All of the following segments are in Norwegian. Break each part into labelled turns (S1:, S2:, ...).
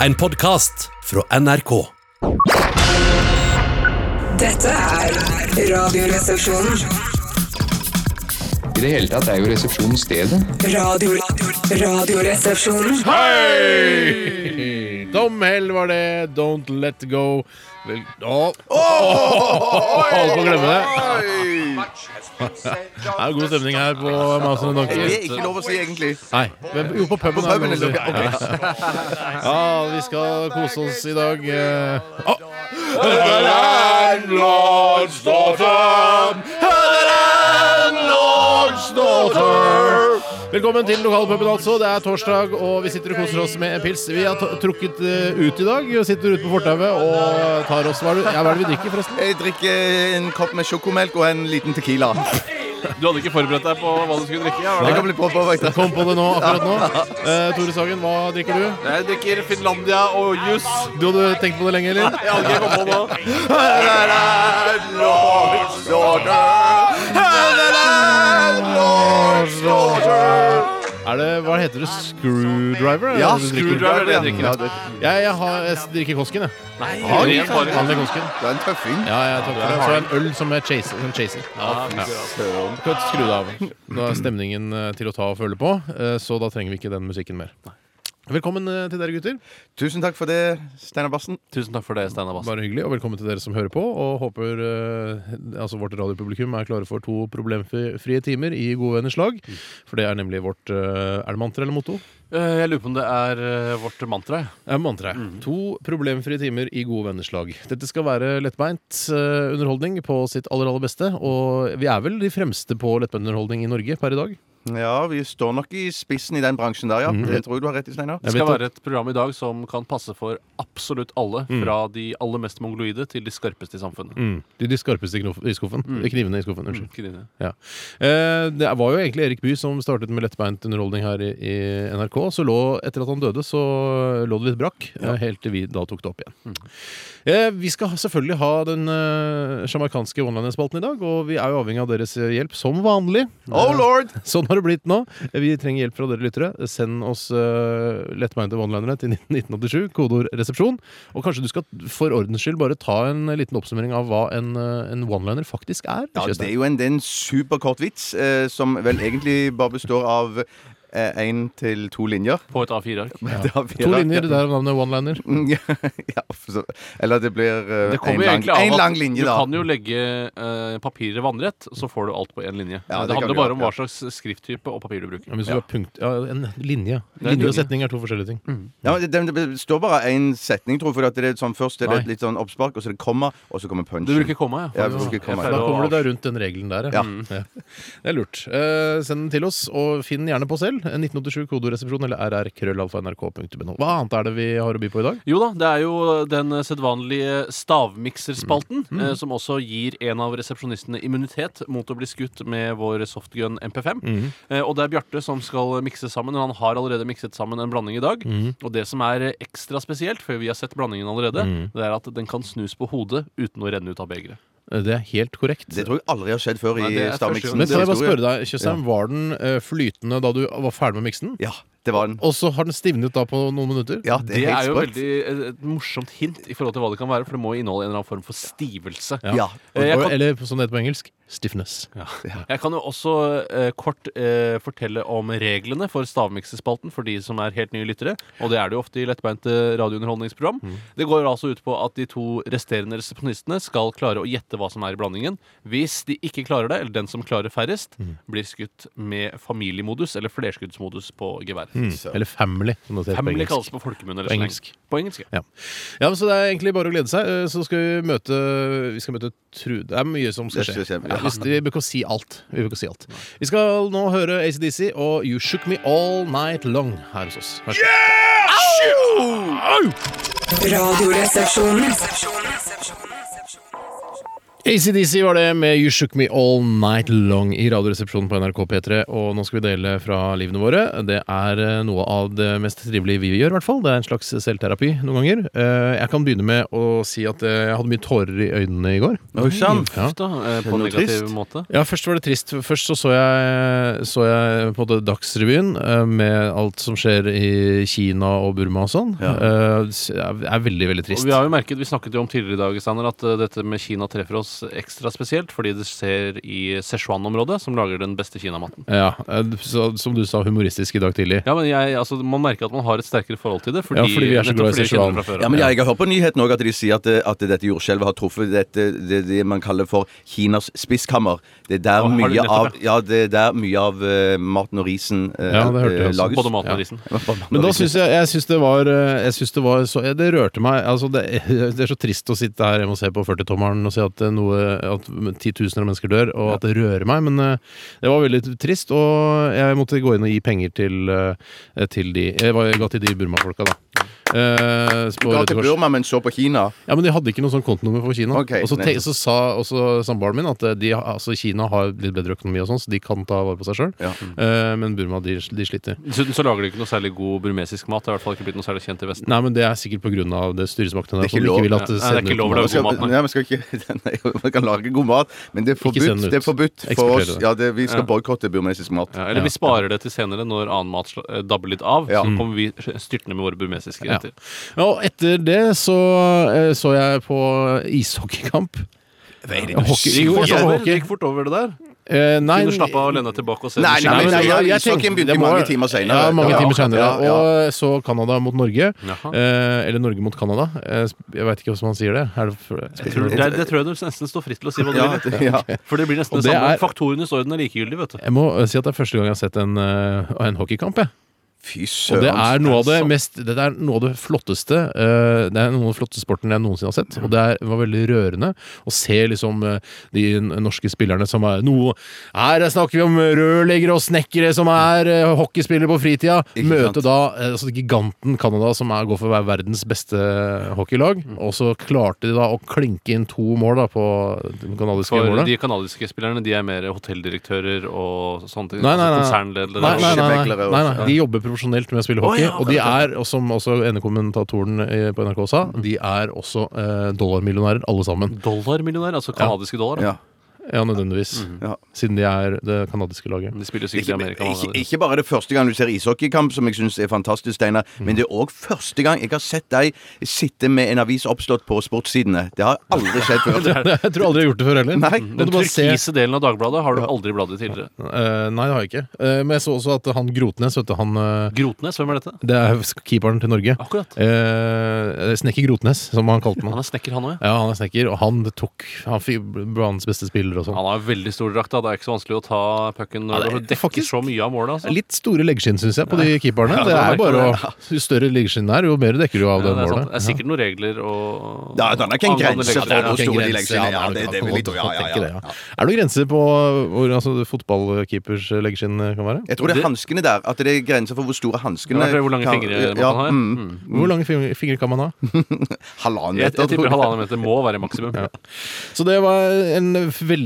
S1: En podcast fra NRK
S2: Dette er Radioresepsjonen.
S3: I det hele tatt er jo resepsjonen stedet.
S2: Radio, radioresepsjonen.
S4: Hei! Tom Hell var det. Don't let go. Vel Å! Holdt på å glemme det. Det er jo god stemning her på Masen og
S5: Det er ikke
S4: Donkey.
S5: lov å si, egentlig.
S4: Nei. Men, jo, på puben. er det lov
S5: puben,
S4: å si.
S5: ok,
S4: Ja, ja, vi skal kose oss i dag. eh. Å! Velkommen til lokalpuben, altså. Det er torsdag, og vi sitter og koser oss med en pils. Vi har t- trukket eh, ut i dag. Vi sitter ute på fortauet og tar oss Hva er det, ja, hva er det vi drikker, forresten?
S5: Jeg drikker en kopp med sjokomelk og en liten tequila.
S6: Du hadde ikke forberedt deg på hva du skulle drikke? ja, var
S5: Det
S6: det?
S5: kan bli bra påvirket.
S4: Kom på det nå, akkurat nå. Eh, Tore Sagen, hva drikker du?
S6: Jeg drikker Finlandia og jus.
S4: Du hadde tenkt på det lenge, eller?
S6: Jeg hadde ikke kommet på det.
S4: Er det, Hva heter det? Screwdriver? er
S5: Ja,
S4: det du drikker?
S5: screwdriver.
S6: det
S5: Ja,
S6: drikker jeg.
S5: Ja, du,
S4: Jeg, jeg, har, jeg drikker Kosken, jeg.
S6: Har du en bare?
S4: Vanlig Kosken.
S5: du er en tøffing.
S4: Ja, jeg tok det. Så en øl som jeg chaser. Som chaser. Du kan skru det av. Nå er stemningen eh, til å ta og føle på, eh, så da trenger vi ikke den musikken mer. Velkommen eh, til dere gutter.
S5: Tusen takk for det, Steinar Bassen.
S6: Tusen takk for det, Steinar Bass.
S4: Bare hyggelig, og velkommen til dere som hører på. Og håper eh, altså vårt radiopublikum er klare for to problemfrie timer i gode venners lag. For det er nemlig vårt eh, Er det mantra eller motto?
S6: Eh, Jeg lurer på om det er eh, vårt mantra. jeg.
S4: Jeg mantra.
S6: Mm.
S4: To problemfrie timer i gode venners lag. Dette skal være lettbeint eh, underholdning på sitt aller aller beste. Og vi er vel de fremste på lettbeint underholdning i Norge per i dag.
S5: Ja, vi står nok i spissen i den bransjen der, ja.
S6: Mhm.
S5: Det tror jeg du har rett i, Steinar.
S4: Jeg
S6: Det skal
S4: vet
S6: være et program i dag som kan passe for absolutt alle. Fra de aller mest mongoloide til de skarpeste i samfunnet.
S4: Mm. De, de skarpeste knof- i skuffen.
S6: Mm.
S4: Knivene i skuffen. Unnskyld.
S6: Ikke dine.
S4: Ja. Eh, det var jo egentlig Erik Bye som startet med lettbeint underholdning her i, i NRK. Så lå, etter at han døde, så lå det litt brakk, eh, helt til vi da tok det opp igjen.
S5: Mm.
S4: Eh, vi skal ha- selvfølgelig ha den eh, sjamarkanske online-spalten i dag, og vi er jo avhengig av deres hjelp, som vanlig.
S5: Oh lord!
S4: Sånn har det blitt nå. Vi trenger hjelp fra dere lyttere. Send oss uh, lettbeinte onelinere til 1987, kodeord 'resepsjon'. Og kanskje du skal for ordens skyld bare ta en liten oppsummering av hva en, eh, en one-liner faktisk er?
S5: Ja, det
S4: Kjøstheim.
S5: er jo en, det er en superkort vits, eh, som vel egentlig bare består av én til to linjer.
S6: På et A4-ark.
S5: Det har vi
S4: To
S5: da.
S4: linjer der av navnet one-liner.
S5: ja, så, eller det blir eh, en
S6: Det kommer jo
S5: lang,
S6: egentlig av
S5: en
S6: at
S5: lang linje,
S6: du
S5: da.
S6: kan jo legge eh, papiret vannrett, så får du alt på én linje.
S5: Ja,
S6: det,
S5: det kan
S6: handler
S5: du
S6: bare
S5: gjøre,
S6: om hva slags skrifttype og papir du bruker.
S4: Ja, men hvis du har punkt, ja, en linje.
S6: er en
S4: Linje Mm. og
S6: linje.
S4: setning er to forskjellige ting.
S5: Ja, men det, det står bare én setning, tror jeg. For at det er sånn, først er det
S4: Nei.
S5: litt sånn oppspark, og så er det komma, og så kommer punchen.
S6: Du bruker komma,
S5: Ja, jeg bruker komma.
S6: Jeg
S4: Da
S6: pleier å
S4: kommer du deg rundt den regelen der, ja. ja. Det er lurt. Eh, send den til oss, og finn den gjerne på selv. Eh, 1987 kodoresepsjon eller rrkrøllalfa.nrk.no. Hva annet er det vi har å by på i dag?
S6: Jo da, det er jo den sedvanlige stavmikserspalten,
S5: Mm.
S6: eh, som også gir en av resepsjonistene immunitet mot å bli skutt med vår softgun MP5.
S5: Mm.
S6: Eh, og det er Bjarte som skal mikse sammen, og han har allerede mikset sammen en blanding i dag.
S5: Mm.
S6: Og det som er ekstra spesielt, før vi har sett blandingen allerede,
S5: Mm.
S6: det er at den kan snus på hodet uten å renne ut av begeret.
S4: Eh, Det er helt korrekt.
S5: Det tror jeg aldri har skjedd før
S6: Nei,
S5: i
S6: det er første
S5: stavmiksen.
S6: gang.
S4: Men kan jeg bare
S5: Historie.
S4: spørre deg, Tjøstheim, var den eh, flytende da du var ferdig med miksen?
S5: Ja, det var den.
S4: Og så har den stivnet da på noen minutter?
S5: Ja, det er
S6: Det er
S5: helt
S6: jo
S5: sprøtt.
S6: veldig et, et morsomt hint i forhold til hva det kan være, for det må jo inneholde en eller annen form for stivelse.
S5: Ja.
S6: Eh, jeg
S4: Og,
S6: kan-
S4: eller som det heter på engelsk, stiffness.
S6: Jeg kan jo også eh, kort eh, fortelle om reglene for stavmiksespalten for de som er helt nye lyttere. Og det er det jo ofte i lettbeinte radiounderholdningsprogram. Det går altså ut på at de to resterende resepsjonistene skal klare å gjette hva som er i blandingen. Hvis de ikke klarer det, eller den som klarer færrest, blir skutt med familiemodus eller flerskuddsmodus på geværet.
S4: Eller family, som det heter på
S6: Hemmelig kalles
S4: engelsk.
S6: på folkemunne
S4: Mm. På
S6: eller slang.
S4: engelsk.
S6: På engelsk. ja.
S4: Ja. ja, men Så det er egentlig bare å glede seg. Eh, Så skal vi møte Vi skal møte Trude. Det er mye som skal
S5: Det
S4: skje.
S5: skal skje,
S4: Ja,
S5: ja.
S4: hvis- vi bør ikke si alt. Vi bør ikke si alt. Vi skal nå høre ACDC og You Shook Me All Night Long her hos oss. Vær så god.
S2: Radioresepsjonen.
S4: ACDC var det med You Shook Me All Night Long i Radioresepsjonen på NRK P3. Og nå skal vi dele fra livene våre. Det er eh, noe av det mest trivelige vi gjør, i hvert fall. Det er en slags selvterapi noen ganger. Eh, Jeg kan begynne med å si at eh, jeg hadde mye tårer i øynene i går.
S5: Oi sann!
S4: Ja.
S6: Da, eh, på
S5: Noe
S6: en negativ
S5: trist.
S6: måte.
S4: Ja, først var det trist. Først så, så, jeg, så jeg på en måte Dagsrevyen eh, med alt som skjer i Kina og Burma og sånn. Eh, s- Det er veldig, veldig
S6: Og
S4: trist.
S6: vi har jo merket, vi snakket jo om tidligere i dag Sander, at eh, dette med Kina treffer oss ekstra spesielt fordi det skjer i Sichuan-området, som lager den beste kinamaten.
S4: Ja, eh, så, som du sa humoristisk i dag tidlig.
S6: Ja, men jeg, altså, Man merker at man har et sterkere forhold til det. Fordi,
S4: Ja, fordi vi er så
S6: nettopp
S4: glad i
S6: fordi vi kjenner det
S4: Sichuan.
S6: fra før av.
S5: Ja, men jeg har hørt på nyheten òg at de sier at, eh, at dette jordskjelvet har truffet dette, det, det man kaller for Kinas spiskammer. Det er der,
S6: Å, har du
S5: mye,
S6: nettopp,
S5: av, ja, det er der mye av eh, maten og risen eh,
S4: Ja, det hørte jeg
S5: eh,
S4: også.
S5: lages.
S6: Både maten og risen.
S4: Men da syns jeg, jeg syns det var, eh, jeg syns det, var så, eh, det rørte meg. Altså det, det er så trist å sitte her hjemme og se på 40-tommeren og se at, det er noe, at titusener av mennesker dør, og at det rører meg. Men eh, det var veldig trist, og jeg måtte gå inn og gi penger til, eh, til de Jeg var- jeg ga til de Burma-folka, da. Eh, på
S5: Du ga
S4: Røde
S5: til
S4: Kors.
S5: Burma, men så på Kina.
S4: Ja, men de hadde ikke noe sånn kontonummer for Kina.
S5: Ok,
S4: og så, te
S5: nettopp.
S4: så sa også samboeren min at eh, de, har- altså Kina har litt bedre økonomi, og sånn, så de kan ta vare på seg sjøl.
S5: Ja.
S4: men Burma, de, de sliter.
S6: Dessuten så lager de ikke noe særlig god burmesisk mat. Det er i hvert fall ikke blitt noe særlig kjent i Vesten.
S4: Nei, men Det er sikkert pga. styresmaktene der.
S5: Det er ikke
S4: Som ikke
S5: lov.
S4: vil at
S6: Nei,
S4: det
S6: det er
S4: sender
S6: ikke
S4: ut
S6: lov å
S4: mat.
S5: Man,
S6: lage
S5: skal,
S6: god mat, nei.
S5: nei, man, skal ikke, nei, man kan lage god mat, men det er
S4: send
S5: forbudt,
S4: den ut.
S5: det er forbudt for oss.
S4: Eksportere.
S5: Ja, det, vi skal
S6: Ja.
S5: boikotte burmesisk mat.
S6: Ja, eller vi sparer det til senere, når annen mat sla- eh, dabber litt av.
S5: Ja.
S6: Så kommer vi styrtende med våre burmesiske
S4: Ja.
S6: retter.
S4: Ja, og etter det så eh, så jeg på ishockeykamp. Hockey-
S6: Gikk
S4: jo,
S6: fort
S4: jeg så på
S6: over-
S4: hockey.
S6: gikk fort over det der.
S4: Eh, nei,
S6: Kunne slappe av og lene deg tilbake og se
S5: Nei,
S6: den
S5: nei,
S6: skjermen.
S5: nei, ja,
S4: jeg
S5: ishockeyen
S4: tenkte-
S5: begynte
S4: det må-
S5: mange timer senere.
S4: Ja, mange
S5: Ja,
S4: timer
S5: akkurat,
S4: senere.
S5: ja, ja.
S4: Og så Canada mot Norge.
S6: Jaha.
S4: Eh, eller Norge mot Canada. Eh, sp- Jeg veit ikke hvordan man sier det. Er det for,
S6: Jeg tror, det, det tror jeg du nesten står fritt til å si hva du
S5: Ja,
S6: vil.
S5: det- ja.
S6: For det blir nesten
S4: Og
S6: det,
S4: det
S6: samme.
S4: er-
S6: Faktorenes orden er likegyldig, vet du.
S4: jeg må eh, si at det er første gang jeg har sett en, eh, en hockeykamp. Jeg.
S5: Fy
S4: Og det er
S5: søren.
S4: noe av det
S6: sant?
S4: mest Det er noe av det flotteste eh, Det er noen av de flotteste sporten jeg noensinne har sett Og det er, var veldig rørende Å se liksom eh, de n- norske spillerne som er noe Her snakker vi om rørleggere og snekkere Som er eh, hockeyspillere på fritida
S5: Ikke
S4: Møte
S5: sant.
S4: da eh, altså, giganten Kanada Som er, går for å være verdens beste hockeylag
S5: Mm.
S4: Og så klarte de da å klinke inn to mål da, På den kanadiske
S6: For
S4: målet
S6: de kanadiske spillerne de er mer hotelldirektører og sånne ting.
S4: Nei, nei, nei.
S6: altså Konsernledere.
S4: Nei, nei, nei, nei,
S5: Skjebeglere
S4: nei,
S5: også.
S4: nei. De jobber profesjonelt med å spille hockey. og de er, og som også enekommentatoren eh, på NRK sa, de er også eh, dollarmillionærer alle sammen.
S6: Dollarmillionær, altså kanadiske dollar. da.
S5: Ja.
S4: Ja, Mm. nødvendigvis.
S5: Ja.
S4: Siden de er det kanadiske laget.
S6: De spiller sikkert
S5: Ikke,
S6: i Amerika. mange
S5: ikke,
S6: ganger.
S5: ikke bare det første gang du ser ishockeykamp, som jeg syns er fantastisk, Steinar,
S4: Mm.
S5: men det er òg første gang jeg har sett deg sitte med en avis oppslått på sportssidene. Det har aldri skjedd før.
S4: Jeg tror aldri jeg har gjort det før heller.
S5: Nei.
S4: Men
S6: Den
S4: du bare ser-
S6: turkise delen av Dagbladet har du aldri bladd i tidligere.
S4: Eh, nei, det har jeg ikke. Eh, men jeg så også at han Grotnes, vet du, han eh,
S6: Grotnes, hvem er dette?
S4: Det er keeperen til Norge.
S6: Akkurat.
S4: Eh, Snekker Grotnes, som han kalte Ah.
S6: Han
S4: han.
S6: er snekker, han òg.
S4: Ja, han er snekker, og han tok Han fikk banens beste spiller og sånn.
S6: Han har veldig stor drakt. da. Det er ikke så vanskelig å ta
S4: Ja,
S6: pucken når
S4: det er
S6: du dekker
S4: faktisk-
S6: så mye av målet. Altså.
S4: Litt store leggskinn, syns jeg, på de keeperne. Det er
S6: det er
S4: jo bare å, Jo større leggskinn det er, jo mer dekker du
S6: Ja,
S4: av
S6: det,
S4: det
S6: er sant.
S4: målet.
S6: det er sikkert noen regler og
S5: Ja, det er ikke en
S6: angående
S5: grense
S6: regler,
S5: for
S6: ja.
S5: hvor store de
S4: grense,
S5: leggskinner
S4: ja,
S5: er.
S4: det
S5: Det-
S4: er
S5: det
S4: nok-
S5: vil jeg tro, ja, ja,
S4: tenker det,
S5: ja.
S4: Er det noen grenser på hvor altså, fotballkeepers leggskinn kan være?
S5: Jeg tror det er
S6: Det-
S5: hanskene der. At det er grenser for hvor store hanskene
S6: Ja, for hvor lange fingre man kan ha, ja.
S5: mm,
S4: Hvor lange fing- fingre kan man ha?
S5: Halvannen
S6: Jeg,
S5: meter.
S6: jeg
S5: tror
S6: tipper
S5: jeg.
S6: halvannen meter må være maksimum.
S4: Så det var en veldig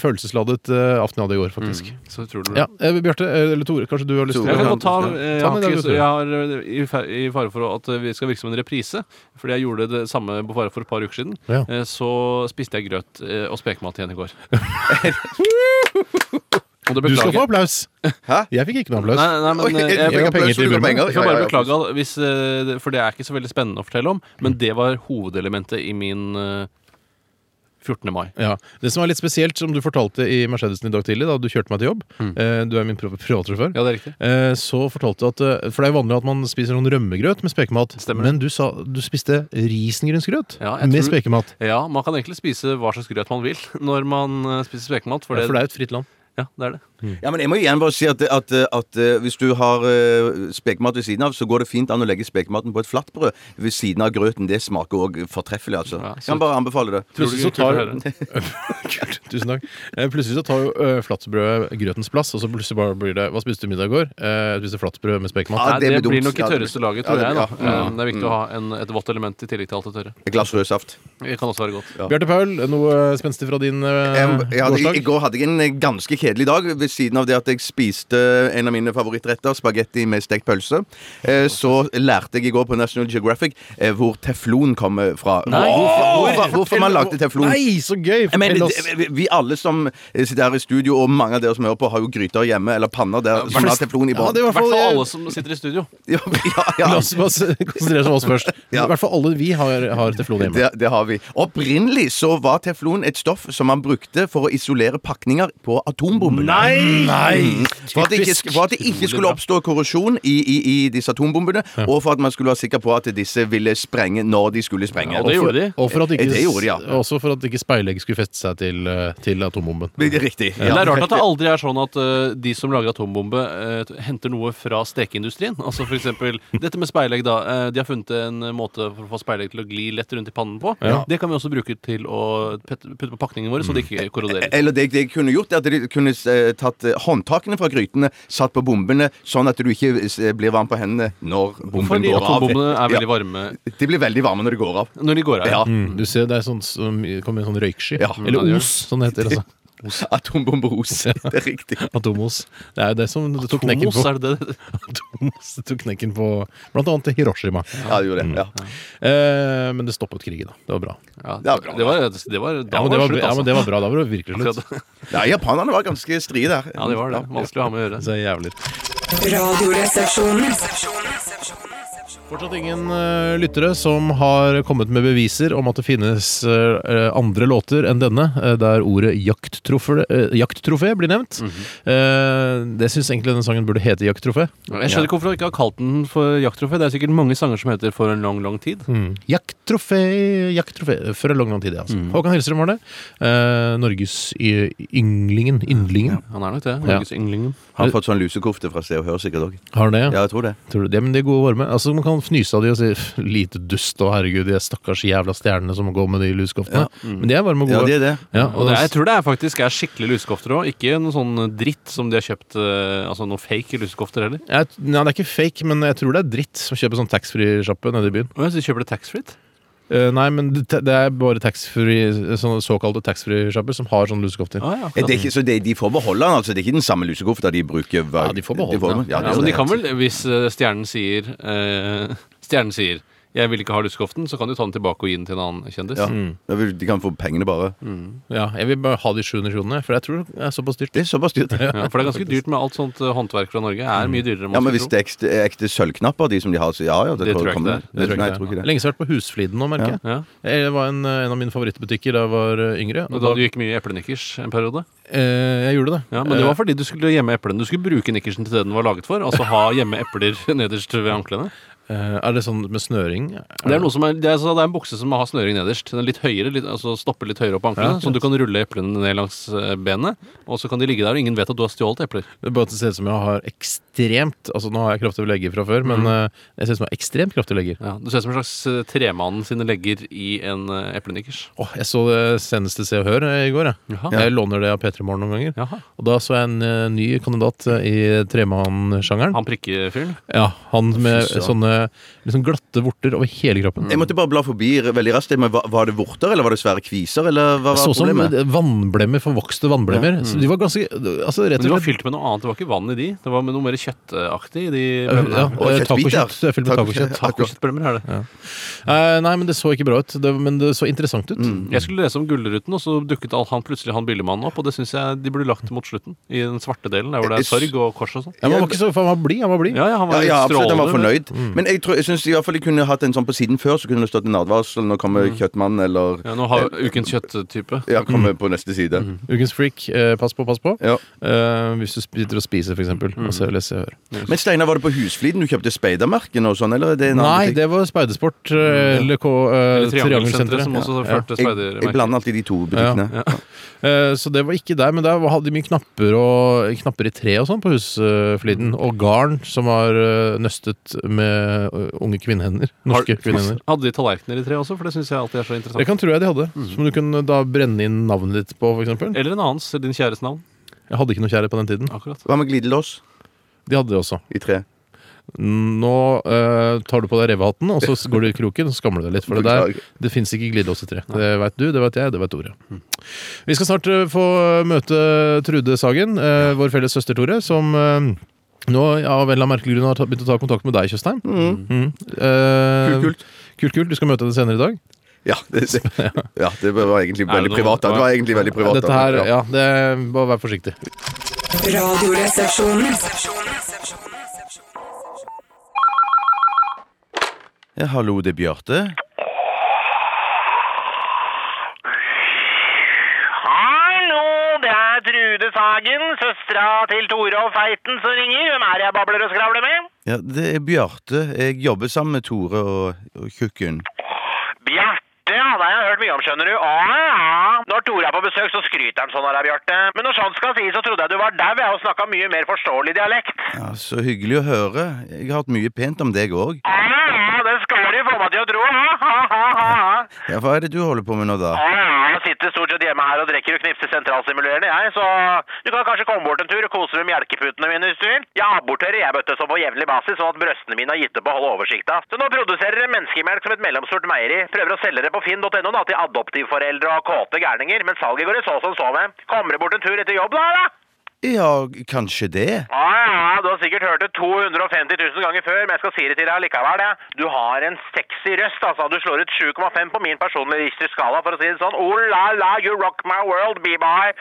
S4: følelsesladet eh, aften jeg hadde i går, faktisk.
S6: Så utrolig bra.
S4: Ja, eh, Bjarte, eh, eller Tore, kanskje du har lyst til
S5: Tore.
S6: Jeg kan godt ta,
S5: Ja.
S6: eh, jeg
S4: Ta
S6: har
S4: den i dag,
S6: ikke-
S4: Tore.
S6: jeg har eh, i fe- i fare for at eh, vi skal virke som en reprise, fordi jeg gjorde det samme på fare for et par uker siden.
S4: Ja.
S6: Eh, Så spiste jeg grøt eh, og spekemat igjen i går. Og det
S4: Du skal få
S6: beklager jeg.
S4: applaus!
S5: Hæ?
S4: Jeg fikk ikke noe applaus.
S6: Nei, nei,
S5: Oi,
S6: men eh,
S5: jeg-
S6: jeg,
S5: jeg-
S4: penger
S5: applaus,
S4: til
S5: du får
S4: Burma.
S5: penger.
S6: jeg får
S5: Ja, ja,
S6: bare
S5: ja.
S6: beklage, da, hvis, eh, det- for det er ikke så veldig spennende å fortelle om, men det var hovedelementet i min eh, 14. mai.
S4: Ja. Det som er litt spesielt, som du fortalte i Mercedesen i dag tidlig, da du kjørte meg til jobb
S6: Mm.
S4: eh, Du er min pri- privatsjåfør.
S6: Ja, det er riktig.
S4: Eh, Så fortalte du at eh, For det er jo vanlig at man spiser noen rømmegrøt med spekemat.
S6: Stemmer det.
S4: Men du sa du spiste risengrynsgrøt
S6: Ja, jeg
S4: med
S6: tror-
S4: spekemat.
S6: Ja, man kan egentlig spise hva slags grøt man vil når man eh, spiser spekemat. For
S4: Ja,
S6: det,
S4: For det er jo et fritt land.
S6: Ja, det er det.
S5: Ja, men jeg må igjen bare si at, at, at eh, hvis du har eh, spekemat ved siden av, så går det fint an å legge spekematen på et flatbrød ved siden av grøten. Det smaker òg fortreffelig, altså.
S6: Ja,
S5: kan bare anbefale det.
S4: Plutselig så
S6: Kult å
S4: tar
S6: høre.
S4: Kult, Tusen takk. Eh, Plutselig så tar jo eh, flatbrødet grøtens plass, og så plutselig bare blir det Hva spiste du middag i går? Eh, Jeg spiste flatbrød med
S5: Ja,
S4: spekemat.
S6: Nei,
S5: det
S6: det,
S5: blir
S6: blir
S5: dumt.
S6: nok i
S5: Ja, det blir-
S6: tørreste laget,
S5: Ja,
S6: tror
S5: det
S6: jeg.
S5: blir-
S6: da
S5: ja. Mm.
S6: Eh, Det er viktig å ha en, et vått element i tillegg til alt det tørre.
S5: Et glass rød saft.
S6: Det kan også være godt.
S5: Ja.
S4: Bjarte Paul, noe spenstig fra din eh,
S5: Jeg, jeg hadde, i, I
S4: gårsdag?
S5: går hadde jeg en eh, ganske kjedelig dag. Ved siden av det at jeg spiste eh, en av mine favorittretter, spagetti med stekt pølse, eh, så lærte jeg i går på National Geographic eh, hvor teflon kommer fra. hvorfor, hvorfor, hvorfor man lagde teflon.
S4: Nei, så gøy!
S5: Jeg mener,
S4: Fortell oss.
S5: det- vi- vi alle som eh, sitter her i studio, og mange av dere som hører på, har jo gryter hjemme, eller panner der som har teflon i
S4: Ja,
S5: bånn.
S4: det
S6: I
S4: var
S6: hvert fall alle
S4: alle
S6: som sitter i studio.
S5: Ja, ja,
S4: La
S5: ja.
S4: oss bare s- konsentrere oss om oss først.
S5: Ja.
S4: I hvert fall alle vi har, har teflon hjemme.
S5: Det, det har vi. Opprinnelig så var teflon et stoff som man brukte for å isolere pakninger på atombomber.
S6: Mm.
S4: Nei!
S5: For at, det ikke, for at det ikke skulle oppstå korrosjon i, i, i disse atombombene, og for at man skulle være sikker på at disse ville sprenge når de skulle sprenge.
S6: Ja, og det
S5: for-
S6: gjorde de.
S4: Og for at ikke,
S5: Eh, det gjorde de, ja.
S4: Også for at ikke speilegg skulle feste seg til, eh, til atombomben.
S5: Men det er Riktig.
S6: Men det er rart at det aldri er sånn at eh, de som lager atombombe, eh, t- henter noe fra stekeindustrien. Altså for eksempel dette med speilegg, da. Eh, de har funnet en eh, måte for å få speilegg til å gli lett rundt i pannen på. Det kan vi også bruke til å pet- putte på pakningene våre, så det
S5: Mm.
S6: ikke korroderer.
S5: Eller det, det jeg kunne gjort, er at de kunne eh, tatt eh, håndtakene fra grytene, satt på bombene, sånn at du ikke eh, blir varm på hendene når bomben
S6: Fordi
S5: går av.
S6: atombombene er
S5: eh,
S6: veldig
S5: ja,
S6: varme
S5: de blir veldig varme når de går av.
S6: når de går av.
S5: Ja.
S4: Mm, du ser det er sånn, som- kommer en sånn røyksky.
S5: Ja.
S4: Eller
S6: Ja, det gjør
S4: os, som det heter. Altså.
S5: Atombomberos. Det er riktig.
S4: Atomos. Det er jo det som det tok knekken
S6: Tomos,
S4: på.
S6: er det det?
S4: Atomos det tok knekken på blant annet Hiroshima.
S5: Ja, det
S6: Mm.
S5: gjorde det. Ja.
S4: Eh, men det stoppet krigen, da. Det var bra.
S6: Ja,
S5: Det er bra.
S6: det var, det var, da
S4: Ja, men det var,
S6: var det
S4: ja, men
S6: slutt,
S4: det var bra. Da var det virkelig slutt.
S6: altså.
S5: Nei, japanerne var ganske strie der.
S6: Ja, det var det. Vanskelig å ha med å gjøre.
S4: Så jævlig.
S2: Radioresepsjonen.
S4: Fortsatt ingen eh, lyttere som har kommet med beviser om at det finnes eh, andre låter enn denne, eh, der ordet jakttrofé, eh, jakttrofé blir nevnt.
S5: Mhm.
S4: Eh, det syns egentlig denne sangen burde hete jakttrofé.
S6: Jeg skjønner ikke hvorfor de ikke har kalt den for jakttrofé. Det er sikkert mange sanger som heter For en lang, lang tid.
S5: Mm.
S4: Jakttrofé, jakttrofé For en lang, lang tid, ja. Altså. Håkan Hellstrøm var det. Eh, Norges y- ynglingen. Yndlingen.
S6: Han er nok det. Norges ynglingen.
S5: Har fått sånn lusekofte fra Se og Hør sikkert òg.
S4: Har han det?
S5: Ja, jeg tror det.
S4: Tror du det? Men de er gode varme. Altså, man kan fnyse av de og si "Pff, lite dust og herregud, de er stakkars jævla stjernene som går med de luskoftene. Men de er varme og
S5: Ja,
S4: gode.
S5: det er det.
S4: Ja,
S6: Og det, er- jeg tror det er faktisk er skikkelig lusekofter òg, ikke noe sånn dritt som de har kjøpt eh, Altså noe fake lusekofter heller.
S4: Jeg, nei, det er ikke fake, men jeg tror det er dritt som kjøper sånn taxfree-sjappe nede i byen.
S6: Å, ja, så de kjøper det taxfree?
S4: Eh, nei, men det, det er bare taxfree, eh, sånne såkalte taxfree-sjapper som har sånn sånne lusekofter.
S6: Ah, ja,
S5: Er
S6: akkurat.
S5: det ikke, så det, de får beholde den, altså? Det er ikke den samme lusekofta de bruker hver
S4: Ja, de får beholde den,
S5: ja,
S6: ja,
S5: det er
S6: men de
S5: det.
S6: kan vel, hvis eh, stjernen sier eh, Stjernen sier 'jeg vil ikke ha lusekoften', så kan du ta den tilbake og gi den til en annen kjendis.
S5: Ja. Da vil- De kan få pengene bare.
S6: Mm.
S4: Ja, jeg vil bare ha de 700 kronene, for jeg tror det er såpass dyrt.
S5: Det er såpass dyrt.
S6: Ja, for det er ganske dyrt med alt sånt eh, håndverk fra Norge. Er mye dyrere enn
S5: Ja,
S6: man
S5: men hvis
S6: skulle tro.
S5: det er ekte, er ekte sølvknapper, de som de har, så ja ja.
S6: Det tror jeg
S5: kommer-
S6: ikke det
S4: Det tror jeg
S5: Nei,
S4: ikke
S5: jeg tror ikke
S4: det.
S5: det.
S4: Lenge så har jeg vært på Husfliden nå, merker jeg. Eh,
S6: Ja.
S4: Det var en, en av mine favorittbutikker da jeg var eh, yngre.
S6: Og da du gikk mye i eplenikkers en periode?
S4: eh, jeg gjorde det.
S6: Ja, Men det var fordi du skulle gjemme eplene. Du skulle bruke nikkersen til det den var laget for. Altså ha gjemme epler nederst ved anklene.
S4: Eh, er det sånn med snøring?
S6: Det er, noe som er, det, er, så det er en bukse som har snøring nederst. Den er litt høyere, litt, altså stopper litt høyere opp på anklene.
S4: Ja,
S6: så du kan rulle eplene ned langs eh, benet, og så kan de ligge der, og ingen vet at du har stjålet epler.
S4: Det er bare at det ser ut som jeg har ekstremt Altså Nå har jeg kraftige legger fra før, men
S6: Mhm.
S4: eh, jeg ser ut som jeg har ekstremt kraftige legger.
S6: Ja, du ser ut som en slags eh, tremann sine legger i en eh, eplenikkers.
S4: Åh, jeg så det seneste Se og Hør eh, i går. Jeg,
S6: Jaha.
S4: jeg låner det av P3 Morgen noen ganger.
S6: Jaha.
S4: Og da så jeg en eh, ny kandidat eh, i tremannsjangeren.
S6: Han prikkefyren.
S4: Ja, han med
S5: søren.
S4: sånne liksom glatte vorter over hele kroppen.
S5: Jeg måtte bare bla forbi veldig raskt. Men var, var det vorter, eller var det svære kviser, eller hva
S4: Jeg
S5: var
S4: så som
S5: problemet?
S4: vannblemmer, forvokste vannblemmer. Så de var ganske altså, rett
S6: mm. Men de
S4: og
S6: var
S4: slett
S6: fylt med noe annet. Det var ikke vann i de. Det var med noe mer kjøttaktig i de
S4: ja,
S6: blemmene.
S4: eh,
S5: Og kjøttbiter.
S4: tacokjøtt. Det er fylt med
S5: Tacokjøtt.
S4: tacokjøtt.
S6: Tacokjøttblemmer er det.
S4: Eh, Nei, men det så ikke bra ut. Det, men det så interessant ut.
S5: Mm.
S6: Jeg skulle lese om Gullruten, og så dukket all- han plutselig han byllemannen opp. Og det syns jeg de burde lagt mot slutten. I den svarte delen, der hvor det er sorg og kors og sånn.
S4: Ja, men han var Mm. ikke så, for han var blid. Han var blid.
S6: Ja, ja, han
S5: Ja,
S6: var
S5: ja, absolutt. Han var
S6: strålende.
S5: fornøyd. Men Men jeg, tror, jeg syns i hvert fall de kunne hatt en sånn på siden før, så kunne det stått en advarsel. Nå kommer kjøttmannen, eller
S6: Mm. Ja, Mm. nå har vi ukens kjøtttype.
S5: Ja, kommer på neste side.
S4: Ukens freak. Eh, pass på, pass på.
S5: Ja.
S4: Eh, hvis du sitter og spiser, for eksempel.
S6: Mm.
S4: Og ser, leser, hører.
S5: Men Steinar, var det på Husfliden du kjøpte speidermerkene og sånn, eller er det en
S4: Nei,
S5: annen butikk?
S4: det var Speidersport. eh, Eller K- eh,
S6: Eller
S4: Triangelsenteret.
S6: Triangelsenteret, som også
S4: Ja, ja.
S6: førte
S5: Jeg, jeg
S6: speidermerket.
S5: blander alltid de to butikkene.
S6: Ja,
S4: Eh, Så det var ikke der, men der hadde de mye knapper, og, knapper i tre og sånn på husfliden. Og garn som var eh, nøstet med eh, unge kvinnehender. Norske kvinnehender.
S6: Hadde de tallerkener i tre også? For det syns jeg alltid er så
S4: Det
S6: interessant.
S4: kan tro jeg de hadde. Som du kunne da brenne inn navnet ditt på, f.eks.
S6: Eller en annens. Din kjæres navn.
S4: Jeg hadde ikke noe kjære på den tiden.
S6: Akkurat.
S5: Hva med glidelås
S4: De hadde det også.
S5: i tre?
S4: Nå eh, tar du på deg revehatten, og så s- går du i kroken, og så skammer du deg litt. For det der
S5: Beklager. Mm.
S4: det fins ikke glidelås i tre. Det veit du, det veit jeg, det veit Tore. Vi skal snart eh, få møte Trude Sagen, eh, vår felles søster Tore, som eh, nå av en eller annen merkelig grunn har ta- begynt å ta kontakt med deg, Tjøstheim. Mm. Eh,
S5: Kult, kult.
S4: Kult, kult. Du skal møte henne senere i dag.
S5: Ja, det, det, ja, det var egentlig veldig
S6: noe-
S5: privat. da. Det var egentlig veldig privat.
S4: Dette
S5: da.
S4: her,
S5: ja.
S4: ja, det, Bare vær forsiktig.
S2: Radioresepsjonen.
S5: Ja, hallo, det er Bjarte.
S7: Hallo, det er Trude Sagen, søstera til Tore og Feiten som ringer. Hvem er det jeg babler og skravler med?
S5: Ja, det er Bjarte. Jeg jobber sammen med Tore og, og Tjukken.
S7: Bjarte, ja, det har jeg hørt mye om, skjønner du. Å, ja. Når Tore er på besøk, så skryter han sånn av deg, Bjarte. Men når sånt skal sies, så trodde jeg du var dau, jeg, og snakka mye mer forståelig dialekt.
S5: Ja, så hyggelig å høre. Jeg har hørt mye pent om deg òg.
S7: Å, ja, det skal du få meg til å tro. Ha, ha, ha, ha, ha.
S5: Ja, hva er det du holder på med nå, da?
S7: Å, ja, jeg sitter stort sett hjemme her og drikker og knipser sentralstimulerende, jeg, så du kan kanskje komme bort en tur og kose med melkeputene mine hvis du vil. Jeg aborterer jeg bøtte som på jevnlig basis, sånn at brøstene mine har gitt opp å holde oversikta. Så nå produserer jeg menneskemelk som et mellomstort meieri. Prøver å selge det på finn.no da til adoptivforeldre og kåte gærninger, men salget går i så som så med. Kommer du bort en tur etter jobb da, da?
S5: Ja, kanskje det.
S7: Ja, ja, du har sikkert hørt det 250 000 ganger før, men jeg skal si det til deg likevel. Ja. Du har en sexy røst, altså. Du slår ut 7,5 på min personlige Richter-skala, for å si det sånn. Oh la la, you rock my world, b-bye.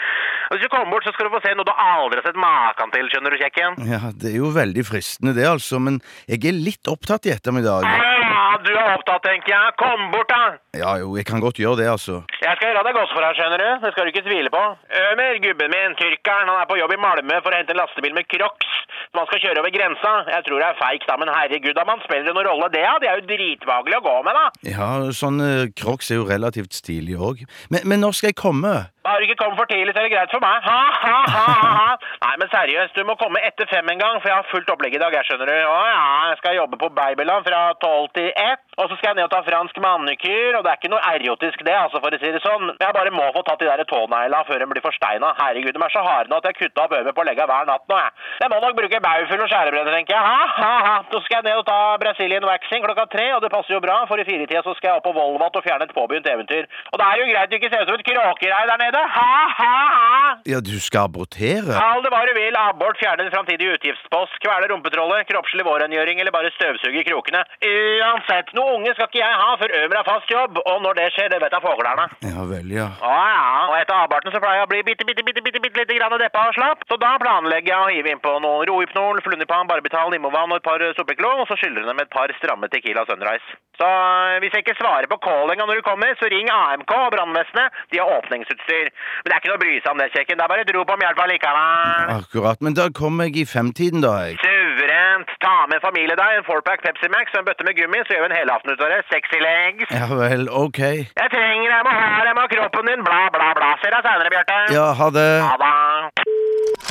S7: Hvis du kommer bort, så skal du få se noe du aldri har sett maken til, skjønner du, kjekken.
S5: Ja, Det er jo veldig fristende, det, altså. Men jeg er litt opptatt i ettermiddag.
S7: Ja, du er opptatt, tenker jeg. Kom bort, da.
S5: Ja jo, jeg kan godt gjøre det, altså.
S7: Jeg skal gjøre deg godt for deg, skjønner du. Det skal du ikke tvile på. Ømer, gubben min, tyrkeren, han er på jobb i Malmö for å hente en lastebil med Crocs som han skal kjøre over grensa. Jeg tror det er feigt, da, men herregud, da man spiller det noen rolle, det, ja. Det er jo dritvagelig å gå med, da.
S5: Ja, sånne crocs er jo relativt stilige òg. Men, men når skal jeg komme?
S7: Bare du ikke kommer for tidlig, så er det greit for meg. Ha, ha, ha, ha, ha. Nei, men seriøst, du må komme etter fem en gang, for jeg har fullt opplegg i dag, jeg skjønner du. Å ja, jeg skal jobbe på Babyland fra tolv til ett, og så skal jeg ned og ta fransk manikyr, og det er ikke noe erotisk det, altså, for å si det sånn. Men jeg bare må få tatt de der tånegla før de blir forsteina. Herregud, de er så harde nå at jeg kutta opp øret på legga hver natt nå, jeg. Jeg må nok bruke baugfull og skjærebrenner, tenker jeg. Ha, ha, ha. Så skal jeg ned og ta Brazilian waxing klokka tre, og det passer jo bra, for i firetida så skal jeg opp på Volvat og fjerne et påbegynt eventyr. Og det er jo greit du ikke ser ut som et kråkereir der nede. Ha, ha, ha.
S5: Ja, du skal abortere?
S7: Kall det hva du vil. Abbort, fjerne en framtidig utgiftspost, kvele rumpetrollet, kroppslig vårrengjøring eller bare støvsuge krokene. Uansett, noen unge skal ikke jeg ha før Ømer har fast jobb, og når det skjer, det vet jeg foglerne.
S5: Ja vel, ja.
S7: Å ja, og etter avbarten så pleier jeg å bli bitte, bitte, bitte, bitte, bitte lite grann deppa og slapp, så da planlegger jeg å hive innpå noen rohypnol, flunipan, barbital, nimovan og et par eh, soppeklo, og så skyller de med et par stramme tequila sunrise. Så eh, hvis jeg ikke svarer på callinga når du kommer, så ring AMK og brannvesenet, de har åpningsutstyr. Men det er ikke noe å bry seg om det, kjekken, det er bare et rop om hjelp allikevel.
S5: Akkurat. Men da kommer jeg i femtiden, da. jeg.
S7: Suverent! Ta med en familie deg, en fourpack Pepsi Max og en bøtte med gummi, så gjør vi en helaften ut av det. Sexy legs!
S5: Ja vel, ok.
S7: Jeg trenger deg, jeg må ha deg, jeg må ha kroppen din, bla, bla, bla. Ser deg seinere, Bjarte.
S5: Ja, ha det.
S7: Ha det.